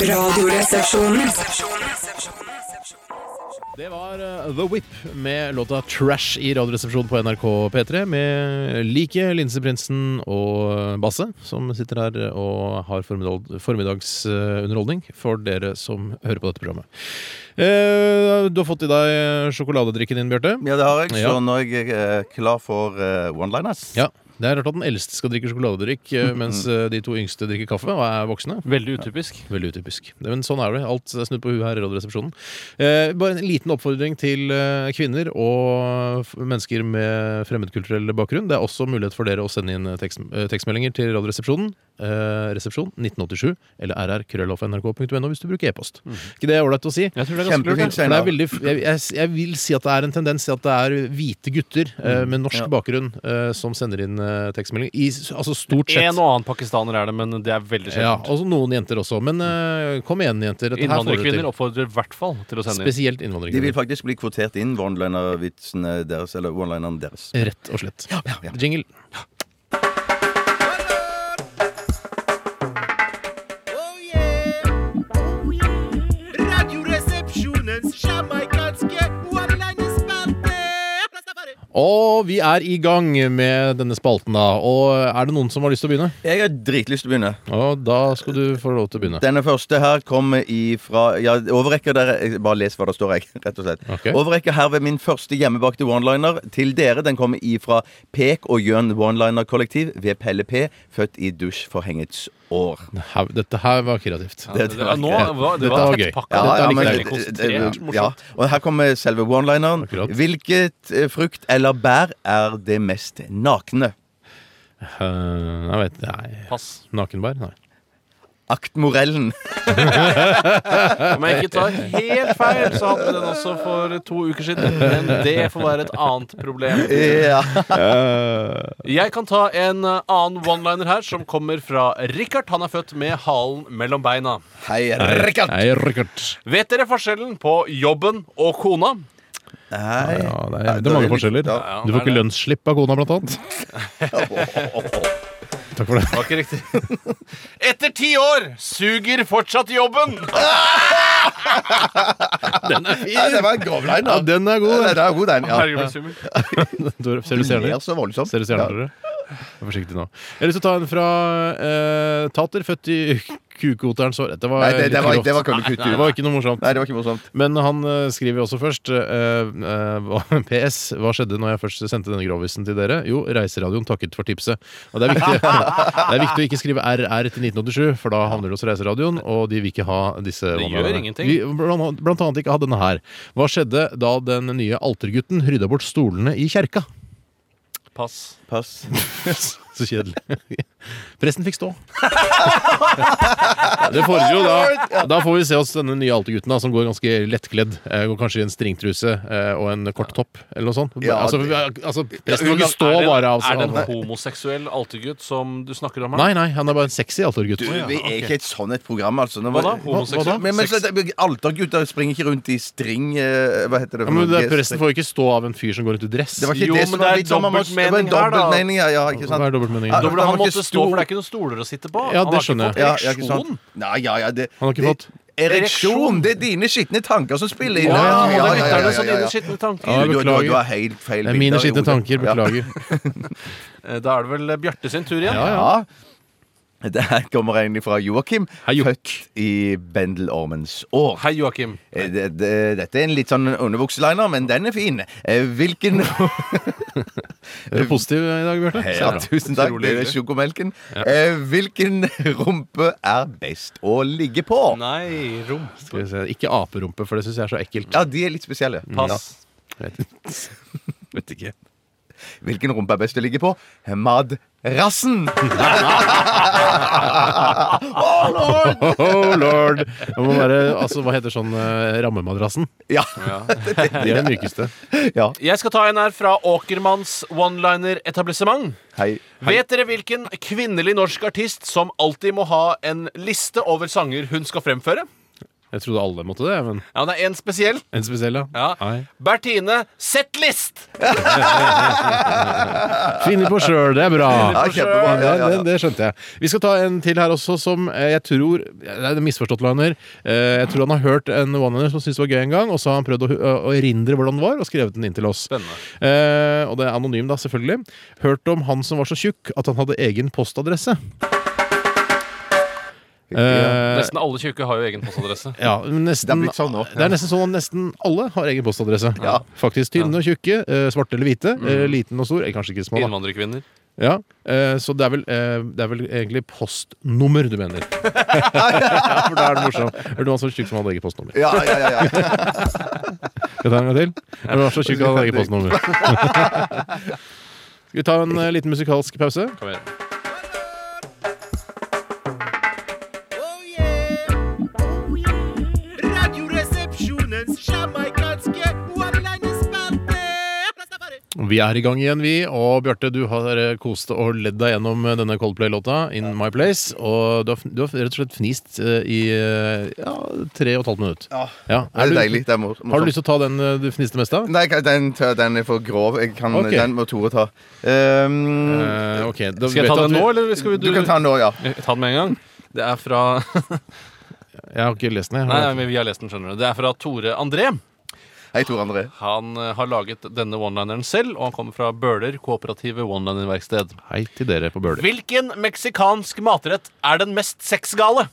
S2: Radioresepsjonen.
S4: Det var eh, The Whip med låta 'Trash' i Radioresepsjonen på NRK P3 med like Linseprinsen og Basse, som sitter her og har formiddag, formiddagsunderholdning for dere som hører på dette programmet. Eh, du har fått i deg sjokoladedrikken din, Bjarte.
S5: Ja, det har jeg.
S4: Ja.
S5: Så nå er jeg eh, klar for eh, one-liners.
S4: Ja. Det er rart at den eldste skal drikke sjokoladedrikk, eh, mens eh, de to yngste drikker kaffe og er voksne.
S6: Mm-hmm. Veldig utypisk.
S4: Veldig utypisk. Det- Men sånn er det. Alt er snudd på huet her i Radioresepsjonen. Eh, bare en liten oppfordring til eh, kvinner og f- mennesker med fremmedkulturell bakgrunn. Det er også mulighet for dere å sende inn eh, tekst, eh, tekstmeldinger til Radioresepsjonen. Eh, resepsjon 1987 eller rrkrøllalfa.nrk.no hvis du bruker e-post.
S5: Mm.
S4: Ikke det er ålreit å si?
S6: Jeg tror det er ganske
S5: Kjempefint,
S6: lurt. ja.
S4: For det er
S5: Steinar.
S4: veldig, jeg, jeg, jeg vil si at det er en tendens til at det er hvite gutter eh, med norsk bakgrunn eh, som sender inn eh, tekstmelding. I, s- altså stort sett.
S6: En og annen pakistaner er det, men det er veldig
S4: Ja,
S6: sjeldent.
S4: og noen jenter også. Men eh, kom igjen, jenter. Dette her får
S6: Innvandrerkvinner
S4: dere til.
S6: oppfordrer i hvert fall til å sende inn.
S4: Spesielt
S5: De vil
S4: innvandrerkvinner.
S5: faktisk bli kvotert inn, one-linerne deres. Eller one-linerne deres.
S4: Rett og slett. Jingle. Og vi er i gang med denne spalten, da. Og er det noen som har lyst til å begynne?
S5: Jeg har dritlyst til å begynne.
S4: Og da skal du få lov til å begynne.
S5: Denne første her kommer ifra Ja, overrekker dere jeg Bare les hva det står, jeg. Rett og slett.
S4: Ok.
S5: Overrekker herved min første hjemmebakte one-liner til dere. Den kommer ifra Pek og Jørn One-liner-kollektiv ved Pelle P, født i dusjforhengets år.
S4: Her- Dette her var kreativt.
S6: Ja, det, det, nå, var- det
S4: Dette
S6: var
S4: var gøy.
S6: tettpakka.
S5: Ja,
S4: Dette er
S5: ja,
S4: litt
S5: men,
S4: deilig.
S5: det- det-
S6: Konsentrert, morsomt.
S5: ja. Og her kommer selve one-lineren.
S4: Akkurat.
S5: Hvilket eh, frukt eller bær er det mest nakne?
S4: Eh, jeg vet Nei.
S6: Pass.
S4: Nakenbær? Nei.
S5: Aktmorellen.
S6: Om jeg ikke tar helt feil, så hadde vi den også for to uker siden. Men det får være et annet problem.
S5: Ja.
S6: Jeg kan ta en eh, annen one-liner her, som kommer fra Richard. Han er født med halen mellom beina.
S5: Hei, Rikard.
S4: Nei, Rikard.
S6: Vet dere forskjellen på jobben og kona?
S5: Hei.
S4: Ja, det er, det er mange forskjeller.
S6: Ja,
S4: Du får
S6: det
S4: ikke
S6: er det.
S4: lønnsslipp av kona, blant annet. Takk for det.
S6: Det var ikke riktig. Etter ti år suger fortsatt jobben.
S5: Ja, det var en grov line, da.
S4: Ja, den er god.
S5: Ja, den er god, den. Ja.
S6: Herregud, det er skummelt.
S4: Dor- Ser du stjerner?
S5: Ler så voldsomt.
S4: Ser du stjerner, dere? Vær forsiktig nå. Jeg har lyst til å ta en fra eh, Tater, født i kukoterens år. Dette var
S5: Nei, det,
S4: litt
S5: det var,
S4: grovt.
S5: det var køllekutt.
S4: Det var ikke noe morsomt.
S5: Nei, det var ikke morsomt.
S4: Men han eh, skriver også først eh, eh, PS. Hva skjedde når jeg først sendte denne grovisen til dere? Jo, Reiseradioen takket for tipset. Og det er viktig, det er viktig å ikke skrive RR til 1987, for da havner du hos Reiseradioen, og de vil ikke ha disse
S6: gjør
S4: vandrerne.
S6: ingenting.
S4: Vi, blant, blant annet ikke ha denne her. Hva skjedde da den nye altergutten rydda bort stolene i kjerka?
S6: Pass.
S5: Pass.
S4: Så kjedelig. Presten fikk stå. Det fordrer jo da Da får vi se oss denne nye altergutten da, som går ganske lettkledd. Eh, Går kanskje i en stringtruse eh, og en kort topp eller noe sånt.
S5: Ja,
S4: altså,
S5: det-
S4: vi- altså, presten vil ikke stå
S6: er det,
S4: bare av
S6: Er det en
S4: av-
S6: homoseksuell altergutt som du snakker om her?
S4: Nei, nei, han er bare en sexy altergutt.
S5: Du, vi er ikke et sånn et program, altså. Nå
S6: Hva da?
S5: var-
S6: Homoseksuell?
S5: Hva da? Men, men
S6: Sex?
S5: så- det- Altergutter springer ikke rundt i string eh, Hva heter det?
S4: Ja, men det er,
S5: Yes,
S4: presten får ikke stå av en fyr som går rundt i dress.
S5: Det var ikke
S6: Jo,
S5: det som
S6: men det
S5: var
S6: er
S5: litt sånn, man må- det var en
S6: dobbeltmening
S5: dobbeltmening
S6: her, da.
S5: her, ja, ikke sant?
S4: Hva er dobbeltmeningen?
S5: Ja,
S6: Da burde
S5: han
S6: han
S5: var ikke
S6: måtte stå,
S5: stor.
S6: for det er ikke noen stoler å sitte på.
S4: Ja, det
S6: Han har ikke
S4: skjønner
S6: fått
S5: Ja, ja, ikke
S6: ereksjon.
S5: sant? Nei, ja, ja, det,
S4: Han har ikke
S5: det-
S4: fått-
S5: Ereksjon! Det er dine skitne tanker som spiller inn.
S6: Ja,
S5: her.
S6: det er lytterne som
S5: ja,
S6: dine
S5: ja.
S6: skitne
S4: Ja,
S6: tanker.
S5: Du, du, du, du
S4: Beklager.
S5: har helt
S4: Det
S5: feil
S4: er
S5: bilder
S4: mine
S5: i
S4: skitne
S5: hodet.
S4: tanker.
S5: Ja.
S4: Beklager.
S6: Eh, Da er det vel Bjarte sin tur igjen.
S5: Ja. Det her kommer egentlig fra Joakim,
S4: Hei, Joak.
S5: født i Bendelormens år.
S6: Hei, Joakim.
S5: Eh, Det, det, dette er en litt sånn underbukseliner, men den er fin. Eh, Hvilken
S4: Er du positiv i dag, Bjarte?
S5: ja, Tusen takk,
S6: Utrolig
S5: det er
S6: hyggelig.
S5: sjokomelken. Eh, Hvilken rumpe er best å ligge på?
S6: Nei, rom.
S4: Skal vi se. Ikke aperumpe, for det syns jeg er så ekkelt.
S5: Ja, de er litt spesielle.
S6: Pass.
S4: Vet ikke.
S5: Ja. Hvilken rumpe er best å ligge på? Madrassen! oh, lord!
S4: Oh lord! Det må være, altså, hva heter sånn eh, rammemadrassen?
S5: Ja.
S4: De er den mykeste.
S5: ja.
S6: Jeg skal ta en her fra Åkermanns one-liner-etablissement.
S5: Hei.
S6: Vet dere hvilken kvinnelig norsk artist som alltid må ha en liste over sanger hun skal fremføre?
S4: Jeg trodde alle måtte det, men
S6: Ja, det er én spesiell.
S4: en spesiell, ja.
S6: Ja.
S4: Nei.
S6: Bertine Settlist!
S4: Finner på sjøl, det er bra.
S5: Ja, kjempebra.
S4: Det,
S5: Ja, ja,
S4: det,
S5: ja.
S4: det skjønte jeg. Vi skal ta en til her også som eh, jeg tror Det er en misforstått liner. Eh, Jeg tror han har hørt en one-liner som syntes det var gøy en gang, og så har han prøvd å, hu- å erindre hvordan den var, og skrevet den inn til oss. Eh, og det er anonym, da, selvfølgelig. Hørt om han som var så tjukk at han hadde egen postadresse. Eh,
S6: Nesten alle tjukke har jo egen postadresse.
S4: Ja, men nesten,
S5: Det er blitt sånn nå.
S4: det er nesten sånn at nesten alle har egen postadresse.
S5: Ja.
S4: Faktisk tynne og tjukke, eh, svarte eller hvite, eh, liten og stor, eller kanskje ikke små. Da.
S6: Innvandrerkvinner.
S4: Ja, eh, Så det er, vel, eh, det er vel egentlig postnummer du mener. ja, for da er det morsomt. Hørte du han så tjukk som hadde eget postnummer?
S5: Ja, ja, ja, ja.
S4: Skal jeg ta en gang til? Hørte du han så tjukk han hadde eget postnummer? Skal vi ta en eh, liten musikalsk pause?
S8: Radioresepsjonens jamaikanske one-linerspalte.
S4: Vi er i gang igjen, vi. Og Bjarte, du har eh, kost og ledd deg gjennom eh, denne Coldplay-låta, 'In My Place'. Og du har, f- du har rett og slett fnist eh, i eh, ja, tre og et halvt minutt. Ja.
S5: Det
S4: Er
S5: er
S4: du-
S5: deilig. Det er mor-
S4: Har du
S5: morsomt.
S4: lyst til å ta den eh, du fniste mest av?
S5: Nei, kan- den, tør- den er for grov. Jeg kan,
S4: Ok.
S5: Den må Tore ta. Ehm,
S4: Eh, ok, da
S6: Skal
S4: vet
S6: jeg ta
S4: du at
S6: den
S4: vi-
S6: nå, eller Eh, skal vi
S5: du
S6: Eh,
S5: kan ta den nå, ja.
S6: Ta den med en gang. Det er fra
S4: Jeg har ikke lest den. jeg.
S6: Nei, nei, men vi har lest den, skjønner du. Det er fra Tore André.
S5: Hei, Tore André.
S6: Han eh, har laget denne one-lineren selv, og han kommer fra Bøler kooperative one-liner-verksted.
S4: Hei til dere på Bøler.
S6: Hvilken meksikansk matrett er den mest sexgale?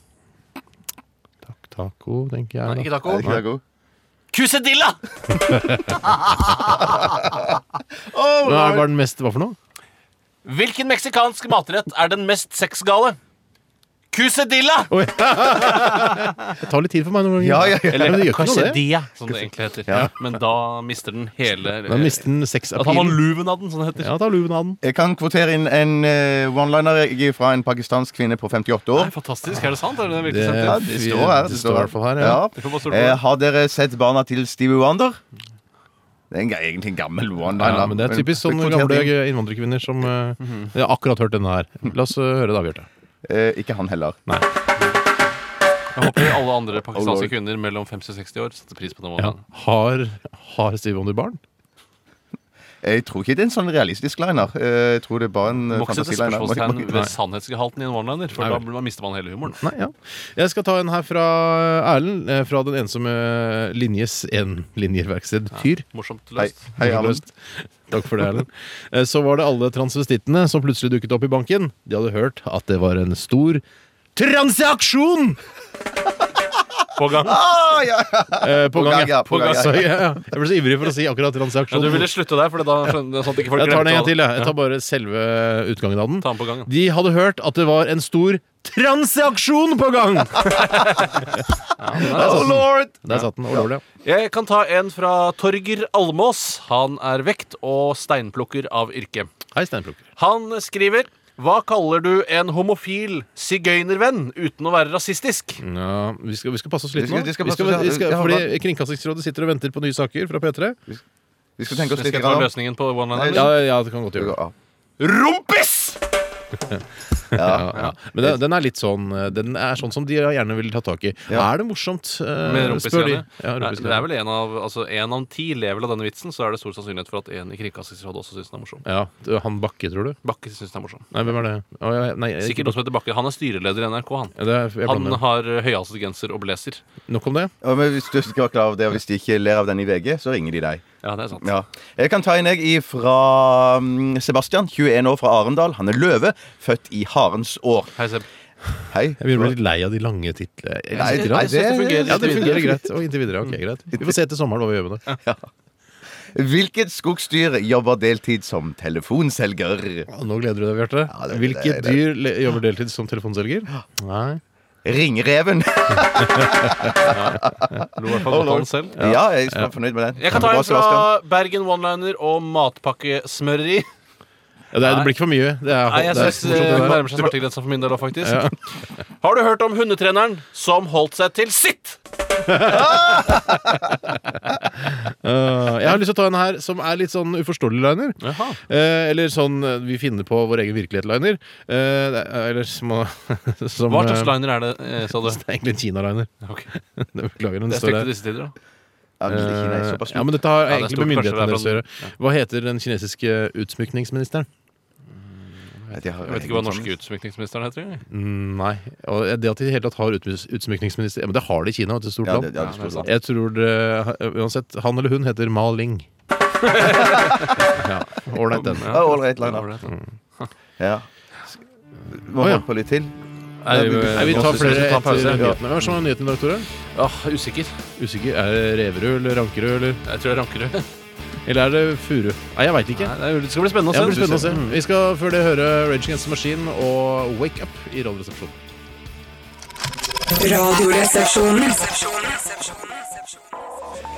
S4: Taco, tenker jeg.
S6: Nei,
S4: da.
S6: ikke taco.
S5: Er ikke det god?
S6: Quesadilla!
S4: Hva er- hva er den mest Hva for noe?
S6: Hvilken meksikansk matrett er den mest sexgale? Quesadilla!
S4: Det tar litt tid for meg noen ganger.
S5: Ja, ja, ja.
S4: Eller, men det gjør ikke noe, det.
S6: quesadilla, som det egentlig heter. Men da mister den hele eh,
S4: Da mister den
S6: Da tar man
S4: sexappealen.
S6: luven av den, som det heter.
S4: Ja, ta luven av den.
S5: Jeg kan kvotere inn en eh, one-liner jeg er fra en pakistansk kvinne på 58
S6: Nei,
S5: år.
S6: fantastisk. Er det sant? Er det virkelig
S4: Det-
S6: sant?
S5: Ja, det står her.
S4: det står i hvert fall her, ja.
S6: Det får bare stå på.
S5: Eh, har dere sett barna til Stevie Wonder? Det er en, ga- egentlig en gammel one-liner.
S4: Ja, men det er typisk sånne
S5: Kvotert
S4: gamle
S5: inn.
S4: innvandrerkvinner som eh, Jeg har akkurat hørt denne her. La oss eh, høre det, Bjarte.
S5: Eh, ikke han heller.
S6: Jeg håper alle andre pakistanske
S5: Lord.
S6: kvinner mellom 50 og 60 år setter pris på den.
S4: Ja.
S6: måten.
S4: Har, har Steve Wonder barn?
S5: Jeg tror ikke det er en sånn realistisk liner. Eh, jeg tror det er bare en eh,
S6: Må ikke sette
S5: fantasiliner.
S4: sånn
S6: spørsmålstegn
S5: Må- må-
S6: ved sannhetsgehalten i en one-liner, for
S4: Nei,
S6: da
S4: vel.
S6: blir- da mister man hele humoren.
S4: Nei, ja. Jeg skal ta en her fra Erlend, eh, fra Den ensomme linjes enlinjerverksted Tyr.
S6: Morsomt
S5: Hei,
S6: løst.
S5: hei Arne.
S4: Løst. Takk for det, Erlend. Eh, Så var det alle transvestittene som plutselig dukket opp i banken. De hadde hørt at det var en stor transaksjon
S6: På gang.
S5: Ah, ja, ja.
S4: eh, på gang. Ja.
S5: På gang, ja.
S4: Så, ja, ja. Jeg ble så ivrig for å si akkurat
S6: Ja,
S4: transaksjon.
S6: du ville slutte der, for da skjønner det er sånn at ikke folk
S4: Jeg tar den en
S6: glemte
S4: gang til.
S6: å-
S4: Jeg. jeg tar bare selve utgangen av den.
S6: Ta den på gang. da.
S4: De hadde hørt at det var en stor transaksjon på gang!
S5: Oh, lord!
S4: Der satt den. Overlevde.
S6: Jeg kan ta en fra Torger Almås. Han er vekt og steinplukker av yrke.
S4: Hei, steinplukker.
S6: Han skriver Hva kaller du en homofil sigøynervenn uten å være rasistisk?
S4: Ja, vi, skal, vi skal passe oss litt
S5: Vi skal-
S4: nå.
S5: vi skal
S4: Vi
S5: passe
S4: skal,
S5: oss-
S4: vi skal,
S5: ja,
S4: fordi
S5: hva-
S4: Kringkastingsrådet sitter og venter på nye saker fra P3.
S5: Vi skal tenke oss
S6: Skal
S5: litt
S6: jeg ta
S5: grann om.
S6: løsningen på one-lineren?
S5: Nei,
S4: Ja, ja, det kan godt gjøre.
S5: Ja.
S6: Rumpis!
S4: Ja, ja. Men den, den er litt sånn eh, Den er sånn som de gjerne vil ta tak i.
S5: Ja.
S4: Er det morsomt? eh,
S6: Med
S4: spør de.
S6: rumpesgreiene.
S4: Ja,
S6: Nei,
S4: rumpesgreiene.
S6: det er vel en av Altså, en av ti lever av denne vitsen, så er det stor sannsynlighet for at en i Kringkastingsrådet også syns den er morsom.
S4: ja, du, han Bakke, tror du?
S6: Bakke syns den er morsom.
S4: Nei, hvem er det? Å, ja, nei, jeg-
S6: Sikkert noen som heter Bakke. Han er styreleder i NRK, han.
S4: Ja, det er, jeg
S6: Han
S4: blander.
S6: har høyhalset genser og blazer.
S4: Nok om det.
S5: Ja, men hvis du ikke var klar over det, og hvis de ikke ler av den i VG, så ringer de deg.
S6: Ja, det er sant.
S5: Ja. Jeg kan ta en jeg fra mm, Sebastian, 21 år fra Arendal. Han er løve, født i harens år.
S6: Hei, Seb.
S5: Hei.
S4: Jeg begynner å bli litt lei av de lange titlene.
S5: Nei,
S4: Jeg-
S5: nei,
S6: Jeg synes det
S5: det-
S6: fungerer
S4: Ja, det
S6: litt
S4: fungerer
S6: videre.
S4: greit. Og inntil videre. Ok, greit. Vi får se etter sommeren hva vi gjør med det.
S5: Hvilket skogsdyr jobber deltid som telefonselger?
S4: Ja, Nå gleder du deg, Bjarte.
S5: Ja, det-
S4: Hvilket
S5: det- det-
S4: dyr le- jobber deltid som telefonselger? Nei.
S5: Ringreven.
S6: Lo i hvert fall godt av han selv.
S5: Ja, jeg er fornøyd med den.
S6: Jeg kan ta
S5: Bra,
S6: en
S5: Sebastian.
S6: fra Bergen one-liner og matpakkesmøreri.
S4: Ja, det, er, det blir ikke for mye. Det er,
S6: Nei, jeg
S4: det er
S6: synes
S4: fortsatt
S6: eh,
S4: det der.
S6: nærmer seg smertegrensa for min del òg, faktisk. Har du hørt om hundetreneren som holdt seg til sitt?
S4: Eh, jeg har lyst til å ta en her som er litt sånn uforståelig liner. Eh, eller sånn eh, vi finner på vår egen virkelighet-liner. Eh, det er- eller som, å- som
S6: Hva slags
S4: eh,
S6: liner er det, eh, sa du?
S4: Det er egentlig en Kina-liner.
S6: Ok.
S4: Beklager. Den
S6: Det er
S4: står
S6: stygt i
S4: der.
S6: disse tider, da.
S5: Ja, men det er ikke- nei,
S4: Eh,
S5: såpass
S4: ja, men dette har
S6: Ja, det er
S4: egentlig
S6: stort.
S4: med
S6: Kanskje det
S4: myndighetene
S6: er
S4: deres å
S6: fra
S4: gjøre. Hva heter den kinesiske utsmykningsministeren?
S5: stort. De har
S6: Jeg vet ikke hva den norske utsmykningsministeren heter. jeg.
S4: Mm, sånn. nei. Og det at de i det hele tatt har utsmys- utsmykningsminister ja, Men det har de i Kina, et stort
S5: Ja,
S4: land.
S5: det, ja, det er stort.
S4: Jeg tror det, eh, uansett, han eller hun heter Ma Ling. ja, Ålreit, den.
S5: Ja, ålreit liner.
S6: ålreit, ja.
S5: Ja. Må
S4: Å, ja.
S5: holde på litt til.
S6: Nei, vi-
S4: Nei, vi tar
S6: synes vi
S4: flere
S6: skal ta en
S4: etter
S6: pause.
S4: nyhetene. Hvem er det som har nyhetene i dag, Tore?
S6: Åh, usikker.
S4: Usikker. Er det Reverud eller Rankerud eller
S6: Jeg tror jeg ranker det.
S4: Eller er det furu? Nei, jeg veit ikke.
S6: Nei, det skal bli spennende å
S4: Ja,
S6: se.
S4: det blir spennende å se. Vi skal før det høre Rage Against the Machine og Wake Up i Radioresepsjonen.
S2: Radioresepsjonen.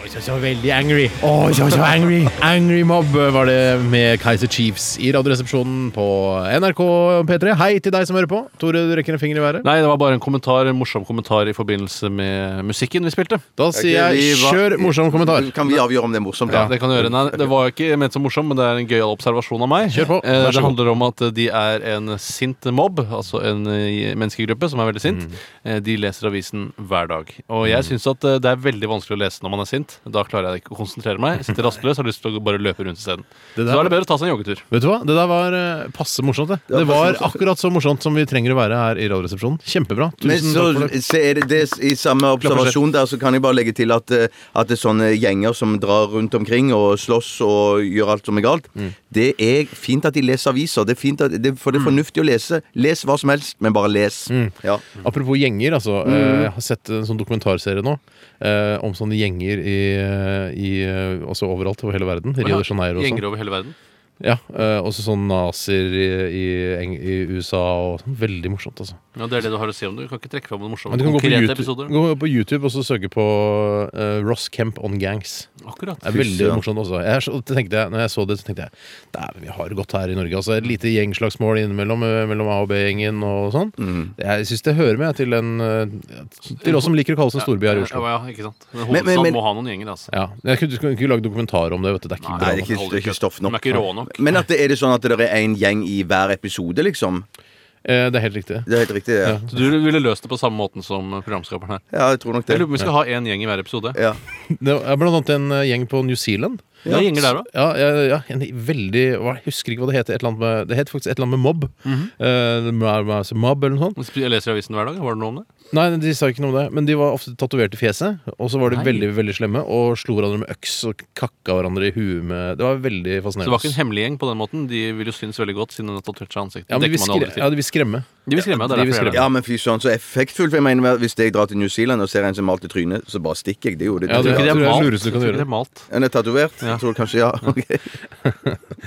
S4: Så, så veldig angry. Oh, så, så angry. angry Mob var det med Kaiser Chiefs i Radioresepsjonen på NRK P3. Hei til deg som hører på. Tore, du rekker en finger i været.
S6: Nei, det var bare en kommentar, en morsom kommentar i forbindelse med musikken vi spilte.
S4: Da sier jeg
S5: Vi var-
S4: kjør morsom kommentar.
S5: Kan vi avgjøre om det er morsomt?
S6: Ja, det kan du gjøre. Nei, det var ikke ment som morsom, men det er en gøyal observasjon av meg.
S4: Kjør på.
S6: Eh,
S4: Vær så
S6: Det
S4: god.
S6: handler om at de er en sint mobb, altså en eh, menneskegruppe som er veldig
S4: Mm.
S6: sint. Eh, De leser avisen hver dag. Og jeg syns at eh, det er veldig vanskelig å lese når man er sint. Da klarer jeg ikke å konsentrere meg. Jeg Sitter rastløs, har lyst til å bare løpe rundt isteden.
S4: Det der
S6: Så da er det
S4: var-
S6: bedre å ta seg en joggetur.
S4: Vet du hva? Det der var eh, passe morsomt. Det, det
S5: passe
S4: var
S5: morsomt.
S4: akkurat så morsomt som vi trenger å være her i Radioresepsjonen. Kjempebra.
S5: Men
S4: Tusen takk
S5: så,
S4: for det.
S5: så er det, det I samme observasjon der så kan jeg bare legge til at, eh, at det er sånne gjenger som drar rundt omkring og slåss og gjør alt som er galt, det er fint at de leser aviser. Det er fint at, det, for det er fornuftig å lese. Les hva som helst, men bare les. Ja.
S4: Apropos gjenger, altså.
S5: Mm.
S4: eh, Jeg har sett en sånn dokumentarserie nå eh, om sånne gjenger i, eh, i eh, Altså overalt over hele verden. Rio de Janeiro og sånn.
S6: Gjenger over hele verden.
S4: Ja, eh, også sånn nazier i, i, Eng- i USA og sånn. Veldig morsomt, altså.
S6: Ja, det er det du har å si om det. Du kan ikke trekke fram noen morsomme
S4: Men du kan gå på,
S6: konkrete
S4: YouTube,
S6: episoder.
S4: gå på YouTube og så søke på eh, Ross Kemp on Gangs.
S6: Akkurat.
S4: Det er veldig
S5: søren.
S4: morsomt også. Jeg, er så- det tenkte jeg, når jeg så det, så tenkte jeg Dæven, vi har det godt her i Norge. Altså, et lite gjengslagsmål innimellom eh, mellom A- og B-gjengen og sånn. Jeg syns det hører med til en eh, Til oss som liker å kalle oss en storby her i Oslo.
S6: Ja, ja, ikke sant. Men
S5: Men- men-
S6: hovedstaden
S5: men-
S6: må ha noen gjenger, altså.
S4: Ja. Jeg kunne, kunne ikke lagd dokumentar om det, vet du. Det er ikke
S5: Nei,
S4: bra.
S5: det er
S4: nok.
S5: ikke, det er ikke stoff
S6: De
S5: nok.
S6: er ikke rå nok.
S5: Men at det, er det sånn at det er én gjeng i hver episode, liksom?
S4: Eh, Det er helt riktig.
S5: Det er helt riktig, det. Ja.
S6: Så du ville løst det på samme måten som programskaperen her.
S5: ja, jeg tror nok det.
S6: Jeg lurer på om vi skal ha én gjeng i hver episode.
S5: Ja.
S4: Det er blant annet en eh, gjeng på New Zealand.
S6: Det er gjenger der òg.
S4: Ja, ja, ja en veldig hva- Jeg husker ikke hva det heter. Et eller annet med, det het faktisk et eller annet med mobb.
S6: Mhm.
S4: Eh, det var- var- altså mobb eller noe sånt.
S6: Jeg leser i avisen hver dag. Var det noe om det?
S4: Nei, de sa ikke noe om det. Men de var ofte tatovert i fjeset. Og så var de veldig veldig slemme og slo hverandre med øks og kakka hverandre i huet med Det var veldig
S6: Så
S4: fascinerende.
S6: det var ikke en hemmelig gjeng på den måten. De vil jo synes veldig godt siden den har tatovert seg i ansiktet.
S4: ja,
S6: Det
S4: men de vil
S6: dekker man
S4: skre,
S6: jo aldri
S4: ja,
S6: til.
S4: de vil skremme.
S6: De vil skremme, det
S4: de
S6: er
S4: vil
S6: derfor jeg gjør
S5: ja,
S6: det.
S5: men fy søren, så effektfullt. For jeg mener, hvis jeg drar til New Zealand og ser en som er malt i trynet, så bare stikker jeg. Det er jo det.
S4: Ja,
S6: Jeg tror
S4: det
S6: ikke
S4: tror jeg
S6: det er
S4: er det
S6: malt.
S4: lureste du
S6: Jeg
S4: kan
S6: tror
S4: gjøre.
S6: ikke det er malt.
S5: En er tatovert?
S6: Ja.
S5: Jeg tror kanskje ja. ok.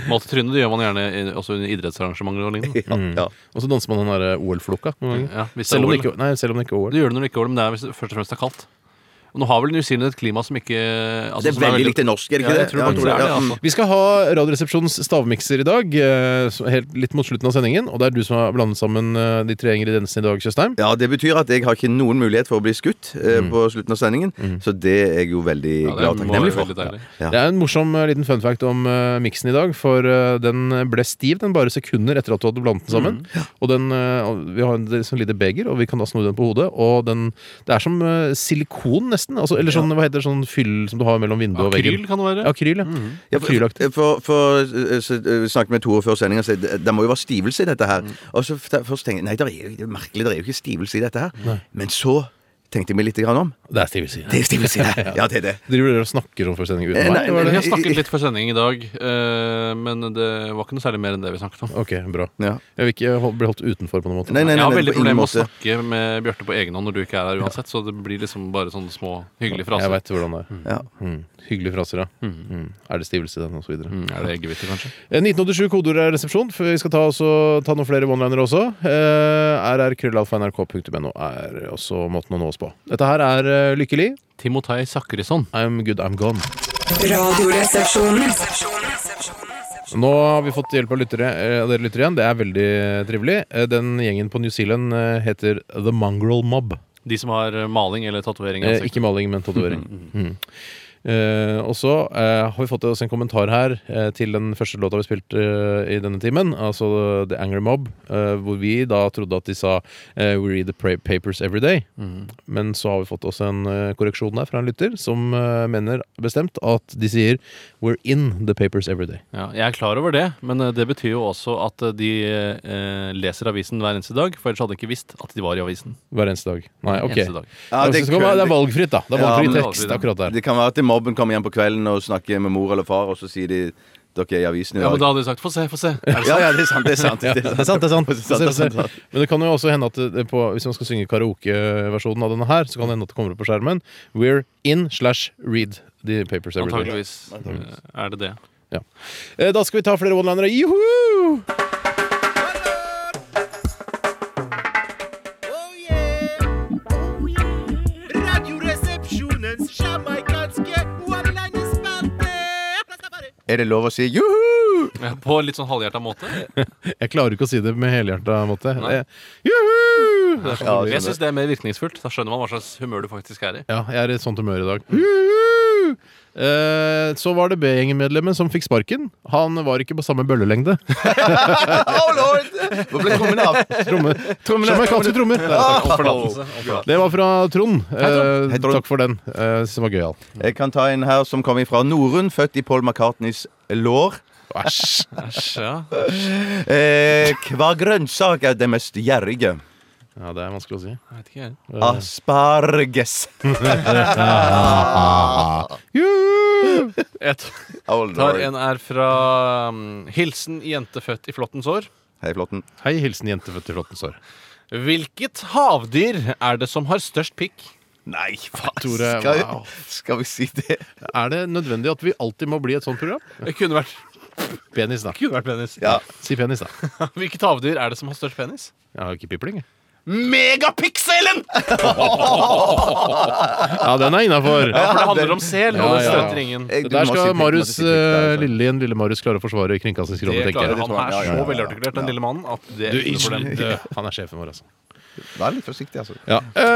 S6: Malt i trynet det gjør man gjerne i- også under idrettsarrangementer og lignende.
S5: ja, ja.
S4: Og så danser man den der OL-floka. noen ganger.
S6: Ja, hvis det er
S4: Selv om det
S6: OL.
S4: ikke nei, selv om det ikke er OL.
S6: Du gjør det når det ikke er OL, men det er hvis det først og fremst er kaldt. Og nå har vel New Zealand et klima som ikke altså,
S5: Det Sånn er
S6: som
S5: veldig likt det norske, er det
S6: Ja,
S5: ikke det?
S6: jeg tror faktisk det er det, altså.
S4: Vi skal ha Radioresepsjonens stavmikser i dag, eh, så- helt litt mot slutten av sendingen. Og det er du som har blandet sammen eh, de tre ingrediensene i dag, Tjøstheim.
S5: Ja, Det betyr at jeg har ikke noen mulighet for å bli skutt eh, på slutten av sendingen. Så det er jeg jo veldig
S6: Ja, det
S5: glad og
S6: må
S5: takknemlig
S6: være
S5: for.
S6: veldig deilig.
S5: Mm. Ja.
S4: Det er en morsom eh, liten fun fact om eh, miksen i dag, for eh, den ble stiv den bare sekunder etter at du hadde blandet den sammen.
S5: Mm.
S4: Og den, eh, og Vi har en sånn lite beger, og vi kan da snu den på hodet. Og den, Det er som eh, silikon, nesten. Altså, eller sånn, hva heter det, sånn fyll som du har mellom vinduet og
S6: Akryl
S4: veggen.
S6: kan det være.
S4: Ja, Akryl, ja.
S5: Ja,
S4: Akrylaktig.
S5: for, for, for eh, så, eh, Vi snakket med Tore før sendinga, så det, det må jo være stivelse i dette her. Og så f- først tenkte jeg nei, det er, jo- det er merkelig, det er jo ikke stivelse i dette her. Men så tenkte jeg meg litt grann om.
S4: Det er stivelse.
S5: Det er stivelse i det. Ja, det er det.
S4: Driver dere og snakker om forestillingen
S5: Eh,
S4: uten meg?
S5: nei,
S4: Var
S5: nei,
S4: det?
S6: Vi har snakket litt før sending i dag, eh, men det var ikke noe særlig mer enn det vi snakket om.
S4: Ok, bra.
S5: Ja.
S4: Jeg vil ikke hol- bli holdt utenfor på noen måte.
S5: Nei, nei, nei,
S6: Jeg har
S5: nei,
S6: veldig
S5: på ingen
S6: problemer med å
S5: måte.
S6: snakke med Bjarte på egen hånd når du ikke er her uansett, så det blir liksom bare sånne små hyggelige
S4: Jeg
S6: fraser.
S4: veit hvordan det er.
S5: Ja.
S4: Mm. Hyggelige fraser, ja. Mm. Er det stivelse i den, og så videre.
S6: Mm, Er det eggehvite, kanskje?
S4: Eh, 1987 kodeord er resepsjon. for Vi skal ta, også, ta noen flere one-linere også. Eh, rrkrøllalfa.nrk.no er også måten å nå oss på. Dette her er eh, Lykkelig.
S6: Timotei Sakrisson.
S4: I'm good, I'm gone.
S2: Radioresepsjonen.
S4: Nå har vi fått hjelp av lyttere, eh, dere lyttere igjen. Det er veldig trivelig. Eh, Den gjengen på New Zealand eh, heter The Mongrel Mob.
S6: De som har eh, maling eller tatovering i
S4: Eh,
S6: ansiktet.
S4: ikke maling, men tatovering. Mm. Eh, og så eh, har vi fått oss en kommentar her eh, til den første låta vi spilte eh, i denne timen, altså The Angry Mob, eh, hvor vi da trodde at de sa eh, We read the pra- papers every day. Men så har vi fått oss en eh, korreksjon der fra en lytter som eh, mener bestemt at de sier We're in the papers every day.
S6: Ja, jeg er klar over det, men eh, det betyr jo også at eh, de eh, leser avisen hver eneste dag, for ellers hadde de ikke visst at de var i avisen.
S4: Hver eneste dag. Nei, ok.
S6: Eneste dag.
S5: Ja,
S4: det,
S5: det
S4: det,
S5: kø-
S4: er valgfritt, da. Det er
S5: Ja,
S4: valgfri
S6: men-
S4: tekst akkurat der.
S5: Det kan være at mobben kommer hjem på kvelden og snakker med mor eller far, og så sier de dere i avisen i
S6: Ja,
S5: dag.
S6: men da hadde de sagt 'få se, få se'. Er det
S5: ja,
S6: sant?
S5: ja, det er sant. Det er sant. Det er
S4: Det er sant, det er sant.
S5: Det er sant, det er sant.
S4: Men det kan jo også hende at det på, hvis man skal synge karaokeversjonen av denne her, så kan det hende at det kommer opp på skjermen. We're in slash read the papers every day.
S6: Antakeligvis eh, er det det.
S4: Ja. Eh, Da skal vi ta flere one-linere. Juhu!
S8: Oh yeah. Oh yeah. Radioresepsjonens jamaikanske one-linerspalte.
S5: Er det lov å si juhu?
S6: Ja, På litt sånn halvhjerta måte.
S4: Jeg klarer ikke å si det med helhjerta måte.
S6: Nei.
S4: Eh, Juhu! Det er sånn det
S5: Ja,
S4: blir.
S6: Jeg syns det er mer virkningsfullt. Da skjønner man hva slags humør du faktisk er i.
S4: Ja, jeg er i et sånt humør i dag. Juhu! Eh, så var det B-gjengemedlemmet som fikk sparken. Han var ikke på samme bøllelengde.
S5: Oh lord! Hvor ble kommet av?
S4: Tromme. Jamaicanske trommer.
S6: Om forlatelse. Om forlatelse.
S4: Det var fra Trond. Eh,
S5: Hei, Trond.
S4: takk for den. Eh, synes den var gøyal.
S5: Jeg kan ta en her som kommer fra Norun, født i Paul McCartneys lår.
S4: Æsj.
S6: Æsj, ja.
S5: Eh, hva grønnsak er det mest gjerrige?
S4: Ja, det er vanskelig å si.
S6: Jeg vet ikke, jeg.
S5: Asparges.
S4: Juhu!
S6: Jeg tar-
S5: Oh
S6: tar
S5: lord.
S6: en er fra mm, Hilsen jente født i flottens år.
S5: Hei, Flåtten.
S4: Hei, hilsen jente født i flottens år.
S6: Hvilket havdyr er det som har størst pikk?
S5: Nei, faen.
S4: Tore,
S5: skal, vi-
S4: wow.
S5: skal vi si det?
S4: Er det nødvendig at vi alltid må bli et sånt program?
S6: Det kunne vært,
S4: Penis, da.
S6: kunne vært penis.
S5: Ja.
S4: Si penis, da.
S6: Hvilket havdyr er det som har størst penis?
S4: Jeg har jo ikke pipling. jeg.
S6: Megapikselen!
S4: Ja, den er innafor.
S6: Ja, for det handler om sel, og det
S4: Ja, ja.
S6: støter ingen.
S5: Jeg- du
S4: Der
S5: må si
S4: skal
S5: pikk,
S4: Marius,
S5: du må si pikk, der,
S4: eh,
S5: altså.
S4: Lillelien, lille Marius klare å forsvare Kringkastingskronen,
S6: Det
S4: tenker
S6: klarer
S4: jeg.
S5: det tror
S6: han.
S5: jeg.
S6: Han er
S5: Ja, ja,
S6: så
S5: ja, ja.
S6: velartikulert, den lille mannen, at det
S4: Du,
S6: er ikke noe problem.
S4: ikke- Han er sjefen vår, altså.
S5: Vær litt forsiktig, altså. Eh,
S4: Eh,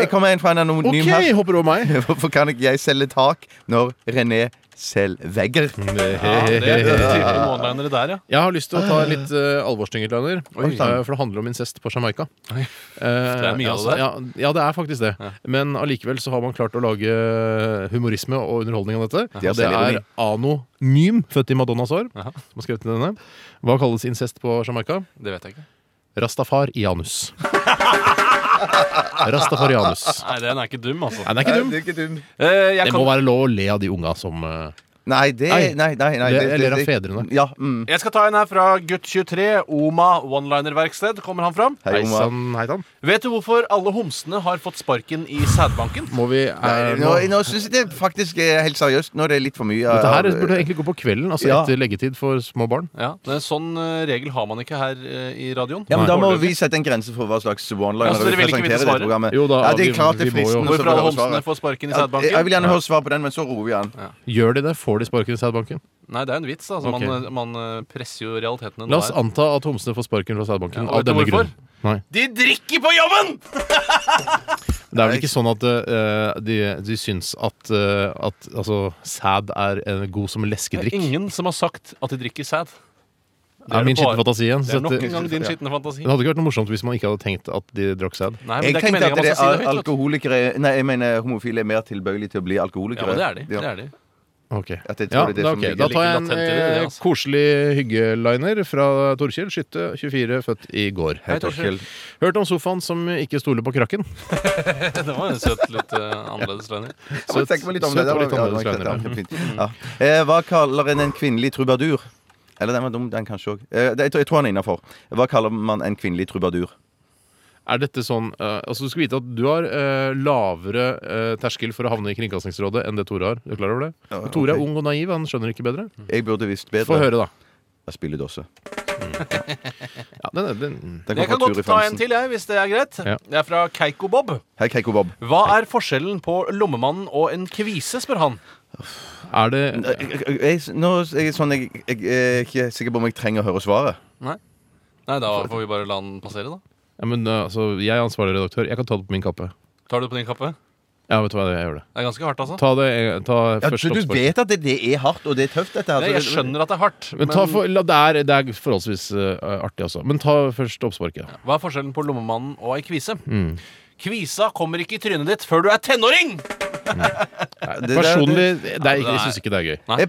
S5: Jeg kommer en fra en anonym
S4: OK,
S5: her.
S4: hopper over meg.
S5: Hvorfor kan ikke jeg selge tak når René selger vegger?
S6: Ja, det er tydelige one-linere der, ja.
S4: Jeg har lyst til å ta en litt uh, alvorstynget, Leiner. Eh, for det handler om incest på Jamaica. det
S6: er mye av det
S4: ja, ja, det er faktisk det. Men allikevel så har man klart å lage eh, humorisme og underholdning av dette.
S5: De har
S4: Og Det
S5: selvironi.
S4: er anonym, født i Madonnas år,
S6: Jaha.
S4: som har skrevet denne. Hva kalles incest på Jamaica?
S6: Det vet jeg ikke.
S4: Rastafar i anus. Rastafar i anus.
S6: Nei, den er ikke dum, altså.
S4: Nei, den er ikke dum.
S5: Nei, det er ikke dum.
S6: Eh, jeg,
S4: Det må
S6: kan,
S4: være lov å le av de unga som eh,
S5: Nei, det
S4: Nei.
S5: Nei, nei, nei
S4: Det- eller av fedrene.
S5: Ja, mm.
S6: jeg skal ta en her fra Gutt23, Oma one-liner-verksted. Kommer han fram?
S5: Hei, Oma.
S4: Heisan, heitan.
S6: Vet du hvorfor alle homsene har fått sparken i sædbanken?
S4: Må vi
S5: Nei,
S4: eh,
S5: Nå, nå syns jeg det faktisk er helt seriøst. Nå er det litt for mye. av-
S4: Dette her burde egentlig gå på kvelden, altså
S5: Ja.
S4: etter leggetid for små barn.
S6: Ja, men En sånn eh, regel har man ikke her eh, i radioen.
S5: ja, men Da må
S6: Foreløpig.
S5: vi sette en grense for hva slags one-liner
S6: Ja, så Altså, dere vil ikke vite svaret?
S4: Jo da,
S5: ja, det er
S4: vi-
S5: klart det er
S4: vi må jo-
S5: fristende. så
S6: Hvorfor
S5: prøver
S6: alle
S5: jeg å svare.
S6: homsene får sparken
S5: Ja, jeg-
S6: i
S5: Jeg
S6: sædbanken?
S5: vil gjerne høre svar på den, men så roer vi an.
S4: Gjør de det, får de sparken i sædbanken.
S6: Nei, det er en vits. Altså.
S4: Ok.
S6: Man, eh, man eh, presser jo realitetene.
S4: La oss
S6: der.
S4: anta at homsene får sparken fra sædbanken
S6: Ja,
S4: av
S6: vet du
S4: denne
S6: hvorfor?
S4: grunn. Nei.
S6: De drikker på jobben!
S4: Det er vel ikke sånn at eh, de, de syns at, eh, at altså, sæd er eh, god som
S6: Det er
S4: leskedrikk.
S6: ingen som har sagt at de drikker sæd.
S4: Det er min skitne fantasi igjen.
S6: Det
S4: Så
S6: er nok
S4: at,
S6: en gang din skitne fantasi.
S4: det hadde ikke vært noe morsomt hvis man ikke hadde tenkt at de drakk sæd.
S6: Nei,
S5: Jeg
S6: men det er ikke
S5: tenkte
S6: meningen
S5: at
S6: man
S5: det
S6: skal si
S5: er
S6: det høyt. vet du.
S5: alkoholikere Nei, jeg mener homofile er mer tilbøyelige til å bli alkoholikere.
S6: Ja, men det er de. Det er de.
S4: Ok.
S5: At jeg
S4: Ja,
S5: tror det er det
S4: da,
S5: som
S4: ok.
S5: ligger
S4: da tar jeg
S6: litt
S4: en
S6: latent i det,
S4: eh,
S6: altså.
S4: koselig hyggeliner fra Torkjell Skytte, 24, født i går.
S5: Hei, Torkjell.
S4: Hørt om sofaen som ikke stoler på krakken.
S6: Det var en søt, litt eh, annerledes løgning.
S5: Jeg må tenke meg litt om
S4: Søt
S5: det.
S4: og litt
S5: Det var- ja,
S4: annerledes
S5: det var-
S4: kleiner,
S5: ja. Ja. Eh, Hva kaller en en kvinnelig trubadur? Eller den var dum, den kanskje òg. Eh, det- jeg, tror- jeg tror han er innafor. Hva kaller man en kvinnelig trubadur?
S4: Er dette sånn eh, Altså Du skal vite at du har eh, lavere eh, terskel for å havne i Kringkastingsrådet enn det Tore har. Er Du klar over det?
S5: Ja,
S4: Men Tore
S5: ok.
S4: er ung og naiv, han skjønner ikke bedre.
S5: Jeg burde visst bedre.
S4: Få høre, da.
S5: Jeg spiller dåse.
S4: Ja, den, er- den,
S5: Den
S6: Jeg
S5: kom fra
S6: kan godt
S5: Turi
S6: ta en
S5: Fransen.
S6: til, jeg, hvis det er greit.
S4: Ja.
S6: Det er fra Keiko Bob.
S5: Hei, Keiko Bob.
S6: Hva er forskjellen på lommemannen og en kvise, spør han.
S4: er det
S5: Jeg, jeg, Eh, jeg, nå er jeg sånn jeg, jeg, er ikke sikker på om jeg trenger å høre svaret.
S6: Nei, da får vi bare la den passere, da.
S4: ja, men, eh, altså, Jeg er ansvarlig redaktør. Jeg kan ta det på min kappe.
S6: Tar du det på din kappe?
S4: Ja, vet du hva, jeg gjør det.
S6: Det er ganske hardt, altså.
S4: Ta det eh, ta
S5: Ja,
S4: første
S5: så du
S4: oppspark.
S5: vet at det, det er hardt, og det er tøft, dette her.
S6: Nei, jeg skjønner at det er hardt,
S4: Men
S6: men
S4: ta for, la, det, er, det er forholdsvis eh, artig, altså. Men ta først oppsparket. da.
S6: hva er forskjellen på lommemannen og ei kvise? Kvisa kommer ikke i trynet ditt før du er tenåring!
S5: det, det-
S4: Personlig det er,
S6: Ja,
S4: Jeg syns ikke det er gøy.
S6: Nei.
S5: Jeg